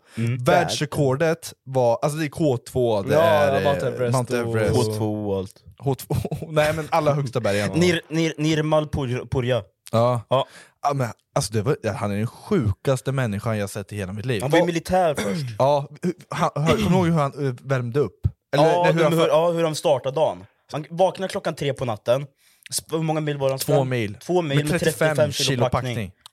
Världsrekordet var, alltså det är K2, det
Mm. Ja,
är eh,
Mount Everest
Mount
och-
Everest.
H2 och allt.
H2. Nej men alla högsta bergen.
Nir, nir, Nirmal Pur- Purja.
Ja.
Ja.
Ja, men, alltså det var, ja, han är den sjukaste människan jag sett i hela mitt liv.
Han var ju militär först.
Ja, hu- han, hör- kommer du ihåg hur han eh, värmde upp?
ja,
nej,
hur de, hur,
för-
ja, hur de startar dagen. Han vaknar klockan tre på natten. Sp- Hur många mil var han
Två mil.
Två mil med 35, kilo packning.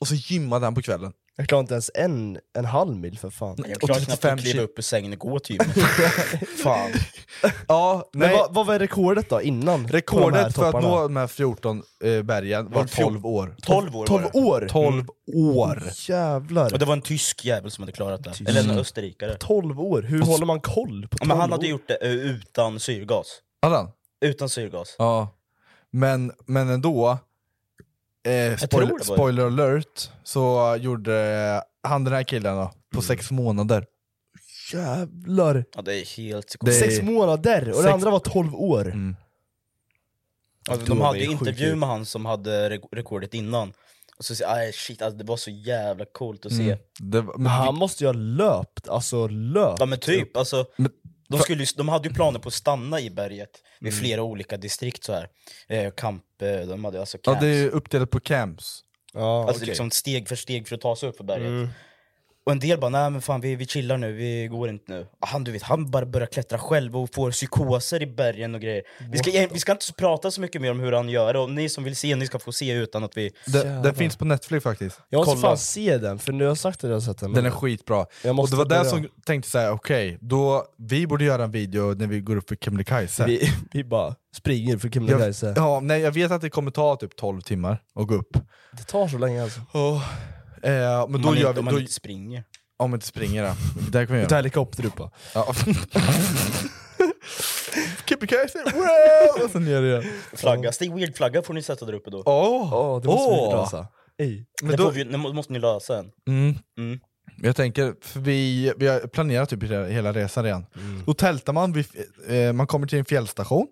Och så gymmade han på kvällen.
Jag klarar inte ens en, en halv mil för fan.
Jag klarar knappt att kliva upp ur sängen och gå till gymmet. Fan.
Ja,
Men
nej.
vad, vad var rekordet då innan? på de här
Rekordet för att
topparna?
nå de här 14 eh, bergen var
Var fjol-
12 år.
12 år
12
var det. Mm.
år? 12 år.
Mm. Jävlar.
Och det var en tysk jävel som hade klarat det. Eller en österrikare.
12 år, hur håller man koll på
Ja,
12
men han
år?
hade gjort det eh, utan syrgas.
Allan?
Utan syrgas.
Ja. Men, men ändå, eh,
tror det
spoiler,
var det.
spoiler alert, så gjorde eh, han den här killen då, på sex månader.
Mm. Jävlar.
Ja, det är helt
Det är-
psykopat.
Sex månader och
Sex-
det andra var 12 år.
Mm.
Alltså, de hade ju intervju med han som hade re- rekordet innan. Och så säger jag, "Aj, shit, alltså, det var så jävla coolt att se.
Mm. men han måste ju ha löpt, alltså löpt.
Ja men typ, alltså, de,
för-
skulle, ju- de hade ju planer på att stanna i berget med
Mm.
flera olika distrikt så här. Eh, kamp, eh, de hade alltså
Ja,
camps.
det är ju uppdelat på camps.
alltså liksom steg för steg för att ta sig upp för berget.
Mm.
Och en del bara, nej men fan vi, vi chillar nu, vi går inte nu. Han du vet, han bara börjar klättra själv och får psykoser i bergen och grejer. Vi ska, vi ska inte så prata så mycket mer om hur han gör, och ni som vill se, ni ska få se utan att vi...
Det, den finns på Netflix faktiskt.
Jag måste
Kolla.
fan se den, för nu har jag sagt att jag har sett den.
Den är skitbra.
Mm. Jag
Och
måste
det var där
börja.
som tänkte såhär, okej, då vi borde göra en video när vi går upp för Kebnekaise.
Vi, vi bara springer för Kebnekaise.
Jag- Ja, nej jag vet att det kommer ta typ 12 timmar att gå upp.
Det tar så länge alltså.
Eh, men då
man
gör
inte,
vi...
om man
Då,
inte springer.
om vi inte springer då. Det här kommer vi
Vi tar
göra.
helikopter upp va?
Ja. Kebnekaise, wow! Och sen ner igen.
Flagga, Stig Weird flagga får ni sätta där uppe då.
Åh!
Åh,
det måste vi lösa. Men
Men
då-
då... vi, det må- måste ni lösa en.
Mm.
Mm.
Jag tänker, för vi, vi har planerat typ hela hela resan redan.
Mm.
Då tältar man, vid, eh, man kommer till en fjällstation,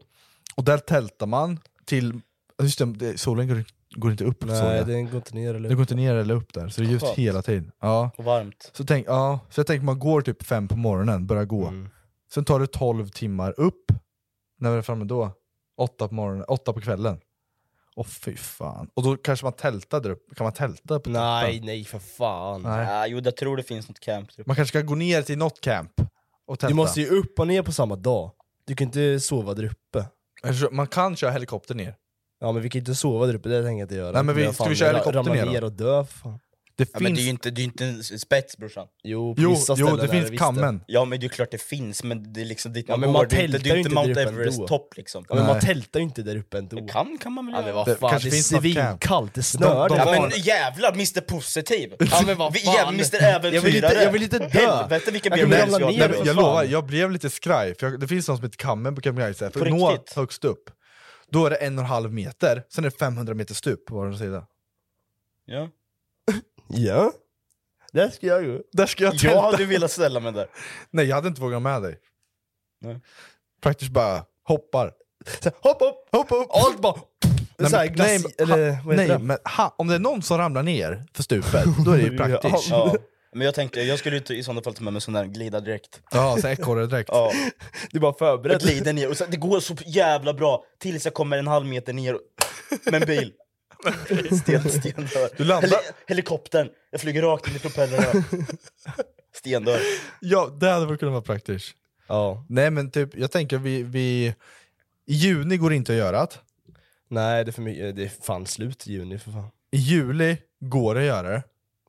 och där tältar man till... Just det, det, solen går, går inte upp. såg
Nej,
jag.
den går inte ner eller
Det går inte ner eller upp där, så det är ljust
Skönt.
hela tiden. Ja.
Och varmt.
Så, tänk, ja, så jag tänker man går typ fem på morgonen, börjar gå. Sen tar det 12 timmar upp. När vi är framme då? Åtta på morgonen, åtta på kvällen. Åh fy fan. Och då kanske man tältar där uppe. Kan man tälta på
Nej,
toppen?
nej för fan.
Nej.
Ah, jo, jag tror det finns något camp. Typ.
Man kanske ska gå ner till något camp och tälta.
Du måste ju upp och ner på samma dag. Du kan inte sova där uppe.
Eller så- Alltså, Man kan köra helikopter ner.
Ja men vi kan inte sova där uppe, det tänker jag inte göra.
Nej, men vi-
Jag
ska
fan
vi köra
ra-
helikopter
ramlar
ner då?
ner och dö för fan.
Det
Ja, men det är ju inte, det är ju inte en spets brorsan.
Jo,
på Jo, vissa jo, ställen det är det finns visst det. kammen.
Ja men det är klart det finns, men det är liksom dit
Ja,
man
men
går.
man
det är inte,
tältar
det är
ju
inte
inte
Mount
där uppe
Everest
ändå.
topp liksom.
Ja, men man tältar ju inte där uppe ändå.
Kan kan man väl
Ja men
Det
vad fan,
kanske
det är
finns något camp.
svinkallt, det
Ja,
snör där.
men jävlar Mr Positiv!
Ja, men vad
Vi-
fan.
jävlar, Mr Äventyrare!
Jag vill inte- jag vill inte dö.
Helvete vilken
Jag,
biograf
jag,
vi har.
jag, lovar, jag blev lite skraj, för jag, det finns något som heter kammen på Kebnekaise, för
På
att nå
riktigt?
högst upp, då är det en och en halv meter, sen är det 500 meter stup på varje sida.
Ja.
Ja. Där ska jag gå.
Där ska jag tälta.
Jag hade velat ställa mig där.
Nej, jag hade inte vågat med dig.
Nej.
Praktiskt bara hoppar. Så här, Hopp upp, hopp upp! Allt bara... Nej,
Så här,
men-
glass-
nej, men-
eller
ha,
vad
nej
heter det?
men ha, om det är någon som ramlar ner för stupet, då är det ju praktiskt.
Ja. Men jag tänkte, jag skulle ju inte i sådana fall ta med mig en sån där glidardräkt.
Ja, så ekorre direkt.
Ja.
Du bara
Jag
förberedd.
glider ner och så, det går så jävla bra tills jag kommer en halv meter ner och- med en bil. Sten, sten dör.
Du landar-
helikoptern, jag flyger rakt in i propellrarna. Sten dör.
Ja, det hade väl kunnat vara praktiskt.
Ja.
Nej men typ, jag tänker vi... vi i juni går inte att göra det.
Nej det är för mycket, det är fan slut i juni för fan.
I juli går det att göra det.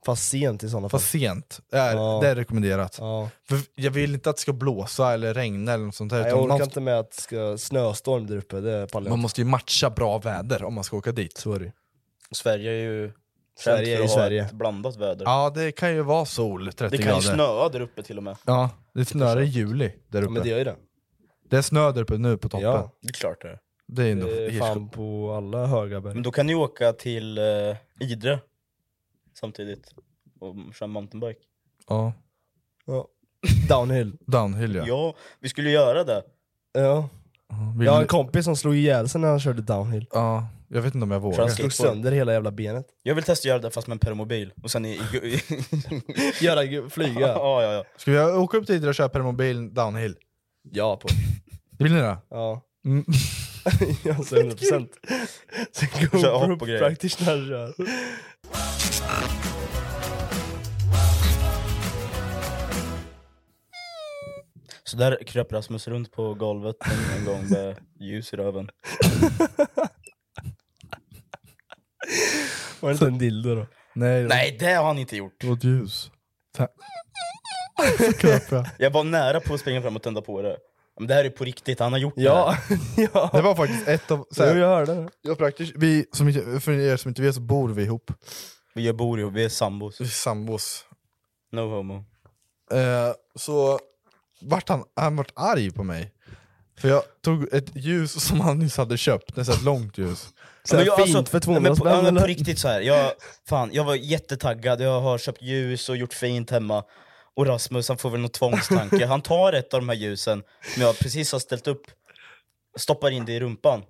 Fast sent i sådana fall.
Fast sent. Det är,
Ja.
det är rekommenderat.
Ja.
För jag vill inte att det ska blåsa eller regna eller något sånt där.
Nej,
utan
jag
man,
orkar inte med att det ska snöstorm där uppe, det pallar jag
man
inte.
måste ju matcha bra väder om man ska åka dit.
Så är det.
Sverige är ju
Sverige
känt
är
för
ju
att
Sverige.
ha ett blandat väder.
Ja, det kan ju vara sol 30
det kan ju
grader.
snöa där uppe till och med.
Ja, det snöar i juli där uppe.
men det gör ju det.
Det är snö där uppe nu på toppen.
Ja.
Det är klart det är.
Det är ändå
Det är fan på alla höga berg.
Men då kan ni åka till eh, Idre samtidigt och köra mountainbike.
ja.
Ja. Downhill.
Downhill ja.
Ja, vi skulle göra det.
Ja.
Vill
Jag har
ni-
en kompis som slog ihjäl sig när han körde downhill.
ja. Jag vet inte om jag
Han
vågar.
slog sönder hela jävla benet.
Jag vill testa att göra det fast med en permobil. Och sen i... i
Göra flyga.
ja, ja, ja.
Ska vi åka upp dit och köpa en mobil downhill?
Ja på.
Vill ni det?
Ja.
Mm.
alltså 100 procent.
Kör hopp och grejer.
practitioner kör.
Så där kröp Rasmus runt på golvet en, en gång med ljus i röven.
Var det inte en dildo då?
Nej, det
Nej, det har han inte gjort.
var ett ljus. Ta- Så kröp jag.
Jag var nära på att springa fram och tända på det. Men det här är på riktigt, han har gjort det.
Ja.
här.
ja.
Det var faktiskt ett av... Så
Jo,
här,
jag hörde det.
jag praktiskt, vi, som inte, för er som inte vet så bor vi ihop.
Vi gör bor ihop, vi är sambos.
Vi är sambos.
No homo.
Eh, så vart han, han vart arg på mig. För jag tog ett ljus som han nyss hade köpt, det är så här ett långt ljus.
Ja, men jag- alltså, men på, ja, men på riktigt så här. Jag, fan, jag var jättetaggad, jag har köpt ljus och gjort fint hemma. Och Rasmus han får väl någon tvångstanke, han tar ett av de här ljusen som jag precis har ställt upp, stoppar in det i rumpan.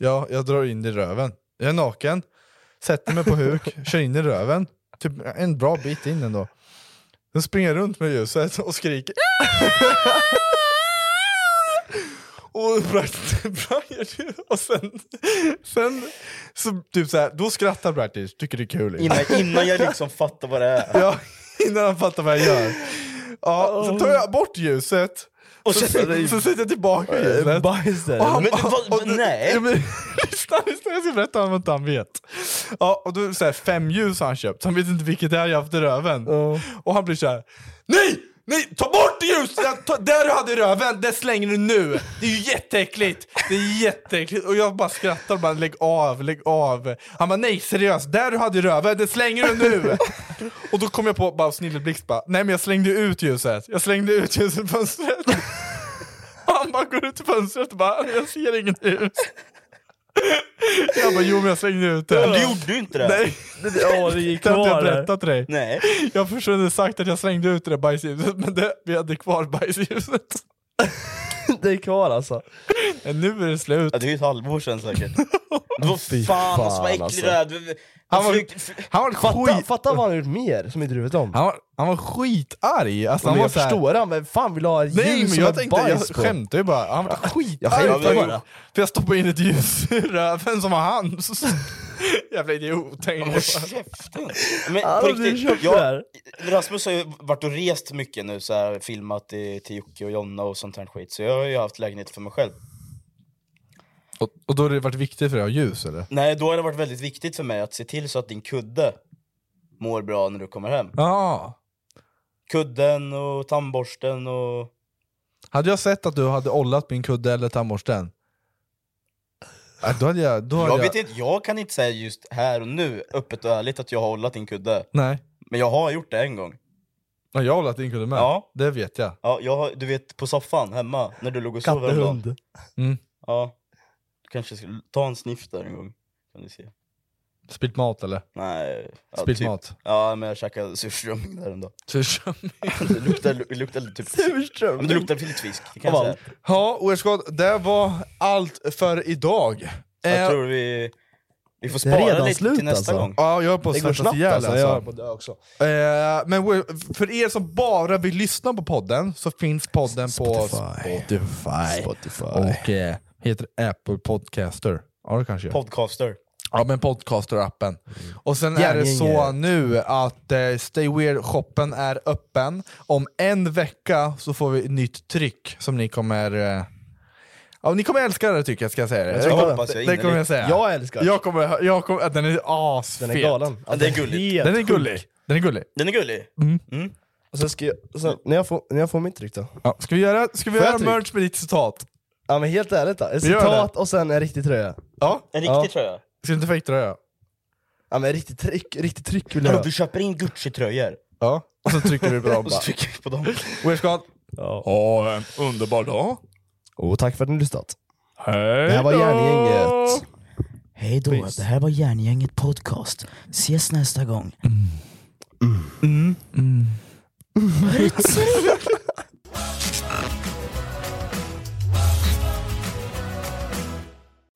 Ja, jag drar in det i röven. Jag är naken, sätter mig på huk, kör in i röven. Typ en bra bit in ändå. Sen springer jag runt med ljuset och skriker. Och Brattis Brian, och sen, sen så typ så här, då skrattar Brattis, tycker det är kul.
Innan, innan jag liksom fattar vad det är.
Ja, innan han fattar vad jag gör. Ja, sen tar jag bort ljuset,
Och
och så,
sen-
så, sätter jag tillbaka ljuset.
Bajs där.
Och han-
Men
och- och- Ja, men- Lyssna, lyssna, jag ska berätta om att han vet. Ja, och då är det så här, fem ljus har han köpt, så han vet inte vilket det är jag haft i röven. Och han blir så här. Nej! Nej! Ta bort det ljuset! Ta- Där du hade i röven, det slänger du nu! Det är ju jätteäckligt! Det är jätteäckligt! Och jag bara skrattar och bara lägg av, lägg av. Han bara nej seriöst, där du hade i röven, det slänger du nu! och då kom jag på, bara snilleblixt bara, nej men jag slängde ut ljuset. Jag slängde ut ljuset i fönstret. Han bara går ut i fönstret och bara, jag ser inget ljus. Jag bara, jo men jag slängde ut det.
Men du gjorde ju inte det.
Nej.
Det- ja, det gick
Det har inte
kvar
jag
där.
typ
berättat till dig.
Nej.
Jag försökte sagt att jag slängde ut det där bajsljuset, men det, vi hade kvar bajsljuset.
det är kvar alltså.
nu är det slut.
Ja, det är ju ett halvår sedan säkert. Det var fan alltså vad äcklig du är. Du-
Han var,
försökte-
han var
fatta, fatta vad han gjort mer som inte du vet om.
Han var, han var skitarg. Alltså,
Ja,
han
men
var
jag
så här-
förstår han, men fan vill ha ett
Nej
ljus
men
som
jag
är
tänkte, jag
bajs på?
skämtade ju bara. Han var skitarg.
Jag skämtar
för-
bara.
För jag stoppade in ett ljus i röven som var hans. Jävla idiot. tänkte jag bara.
Men
Ja,
på
men du
riktigt,
köpte det
jag,
här.
alltså,
Rasmus har ju varit och rest mycket nu, så här, filmat i, till Jocke och Jonna och sånt här skit. Så jag har ju haft lägenhet för mig själv.
Och, och då har det varit viktigt för dig att ha ljus eller?
Nej, då har det varit väldigt viktigt för mig att se till så att din kudde mår bra när du kommer hem.
Ja.
Kudden och tandborsten och...
Hade jag sett att du hade ollat min kudde eller tandborsten? äh, Då hade jag... Då hade
Jag, vet inte, jag kan inte säga just här och nu, öppet och ärligt, att jag har hållat din kudde.
Nej.
Men jag har gjort det en gång.
Ja, jag har ollat din kudde med.
Ja.
Det vet jag.
Ja, jag har, du vet, på soffan hemma, när du låg och sov häromdagen.
Kattehund.
Mm.
Ja. Du kanske ska ta en sniff där en gång. Kan du se.
Spillt mat eller?
Nej. Ja, typ-
Spillt mat.
Ja, men jag käkade surströmming där en dag.
Surströmming?
det luktar, det luktar typ... Surströmming? Men det luktar filtfisk, det kan jag säga.
Ja, Oerskott, det var allt för idag.
Jag
Eh,
tror vi... Vi får
Det är
spara
redan
lite
slut,
till nästa
alltså.
gång.
Ja, jag är på att
Det går
svettas
snabbt,
ihjäl
alltså.
alltså.
Jag är på det också.
Eh, men we- för er som bara vill lyssna på podden så finns podden på Spotify. Spotify. Och eh, heter Apple Podcaster. Ja, det kanske gör.
Podcaster.
Ja men podcaster-appen.
Mm.
Och sen är det
Järngänget.
så nu att eh, Stay Weird-shoppen är öppen. Om en vecka så får vi ett nytt tryck som ni kommer... Eh, ja, ni kommer älska det tycker jag, ska jag säga det.
Jag tror jag hoppas jag
det, det
innerligt.
kommer jag säga.
Jag älskar
jag kommer, jag kommer, Den är asfet.
Den är galen. Ja, den är gullig.
Den är
Helt
gullig.
sjuk.
Den är gullig.
Den är gullig.
Mm.
Och sen ska jag, sen, när, jag får, när jag får mitt tryck då?
Ja, ska vi göra, ska vi
Får jag
göra
tryck?
merch med ditt citat?
Ja men helt ärligt då, ett
Vi gör det.
citat och sen en riktig tröja.
Mm. Ja.
En riktig
Ja.
tröja.
Ska du inte fejktröja?
Ja men riktigt tryck, riktigt tryck vill jag
Hallå,
ha.
du köper in Gucci-tröjor.
Ja, och så trycker vi på dem
Och så
bara.
trycker vi på dem.
Weird Ja. Ha en underbar dag.
Och tack för att ni har lyssnat.
Hej
Det här var
då!
Järngänget.
Hej då,
Peace.
det här var Järngänget podcast. Ses nästa gång.
Mm.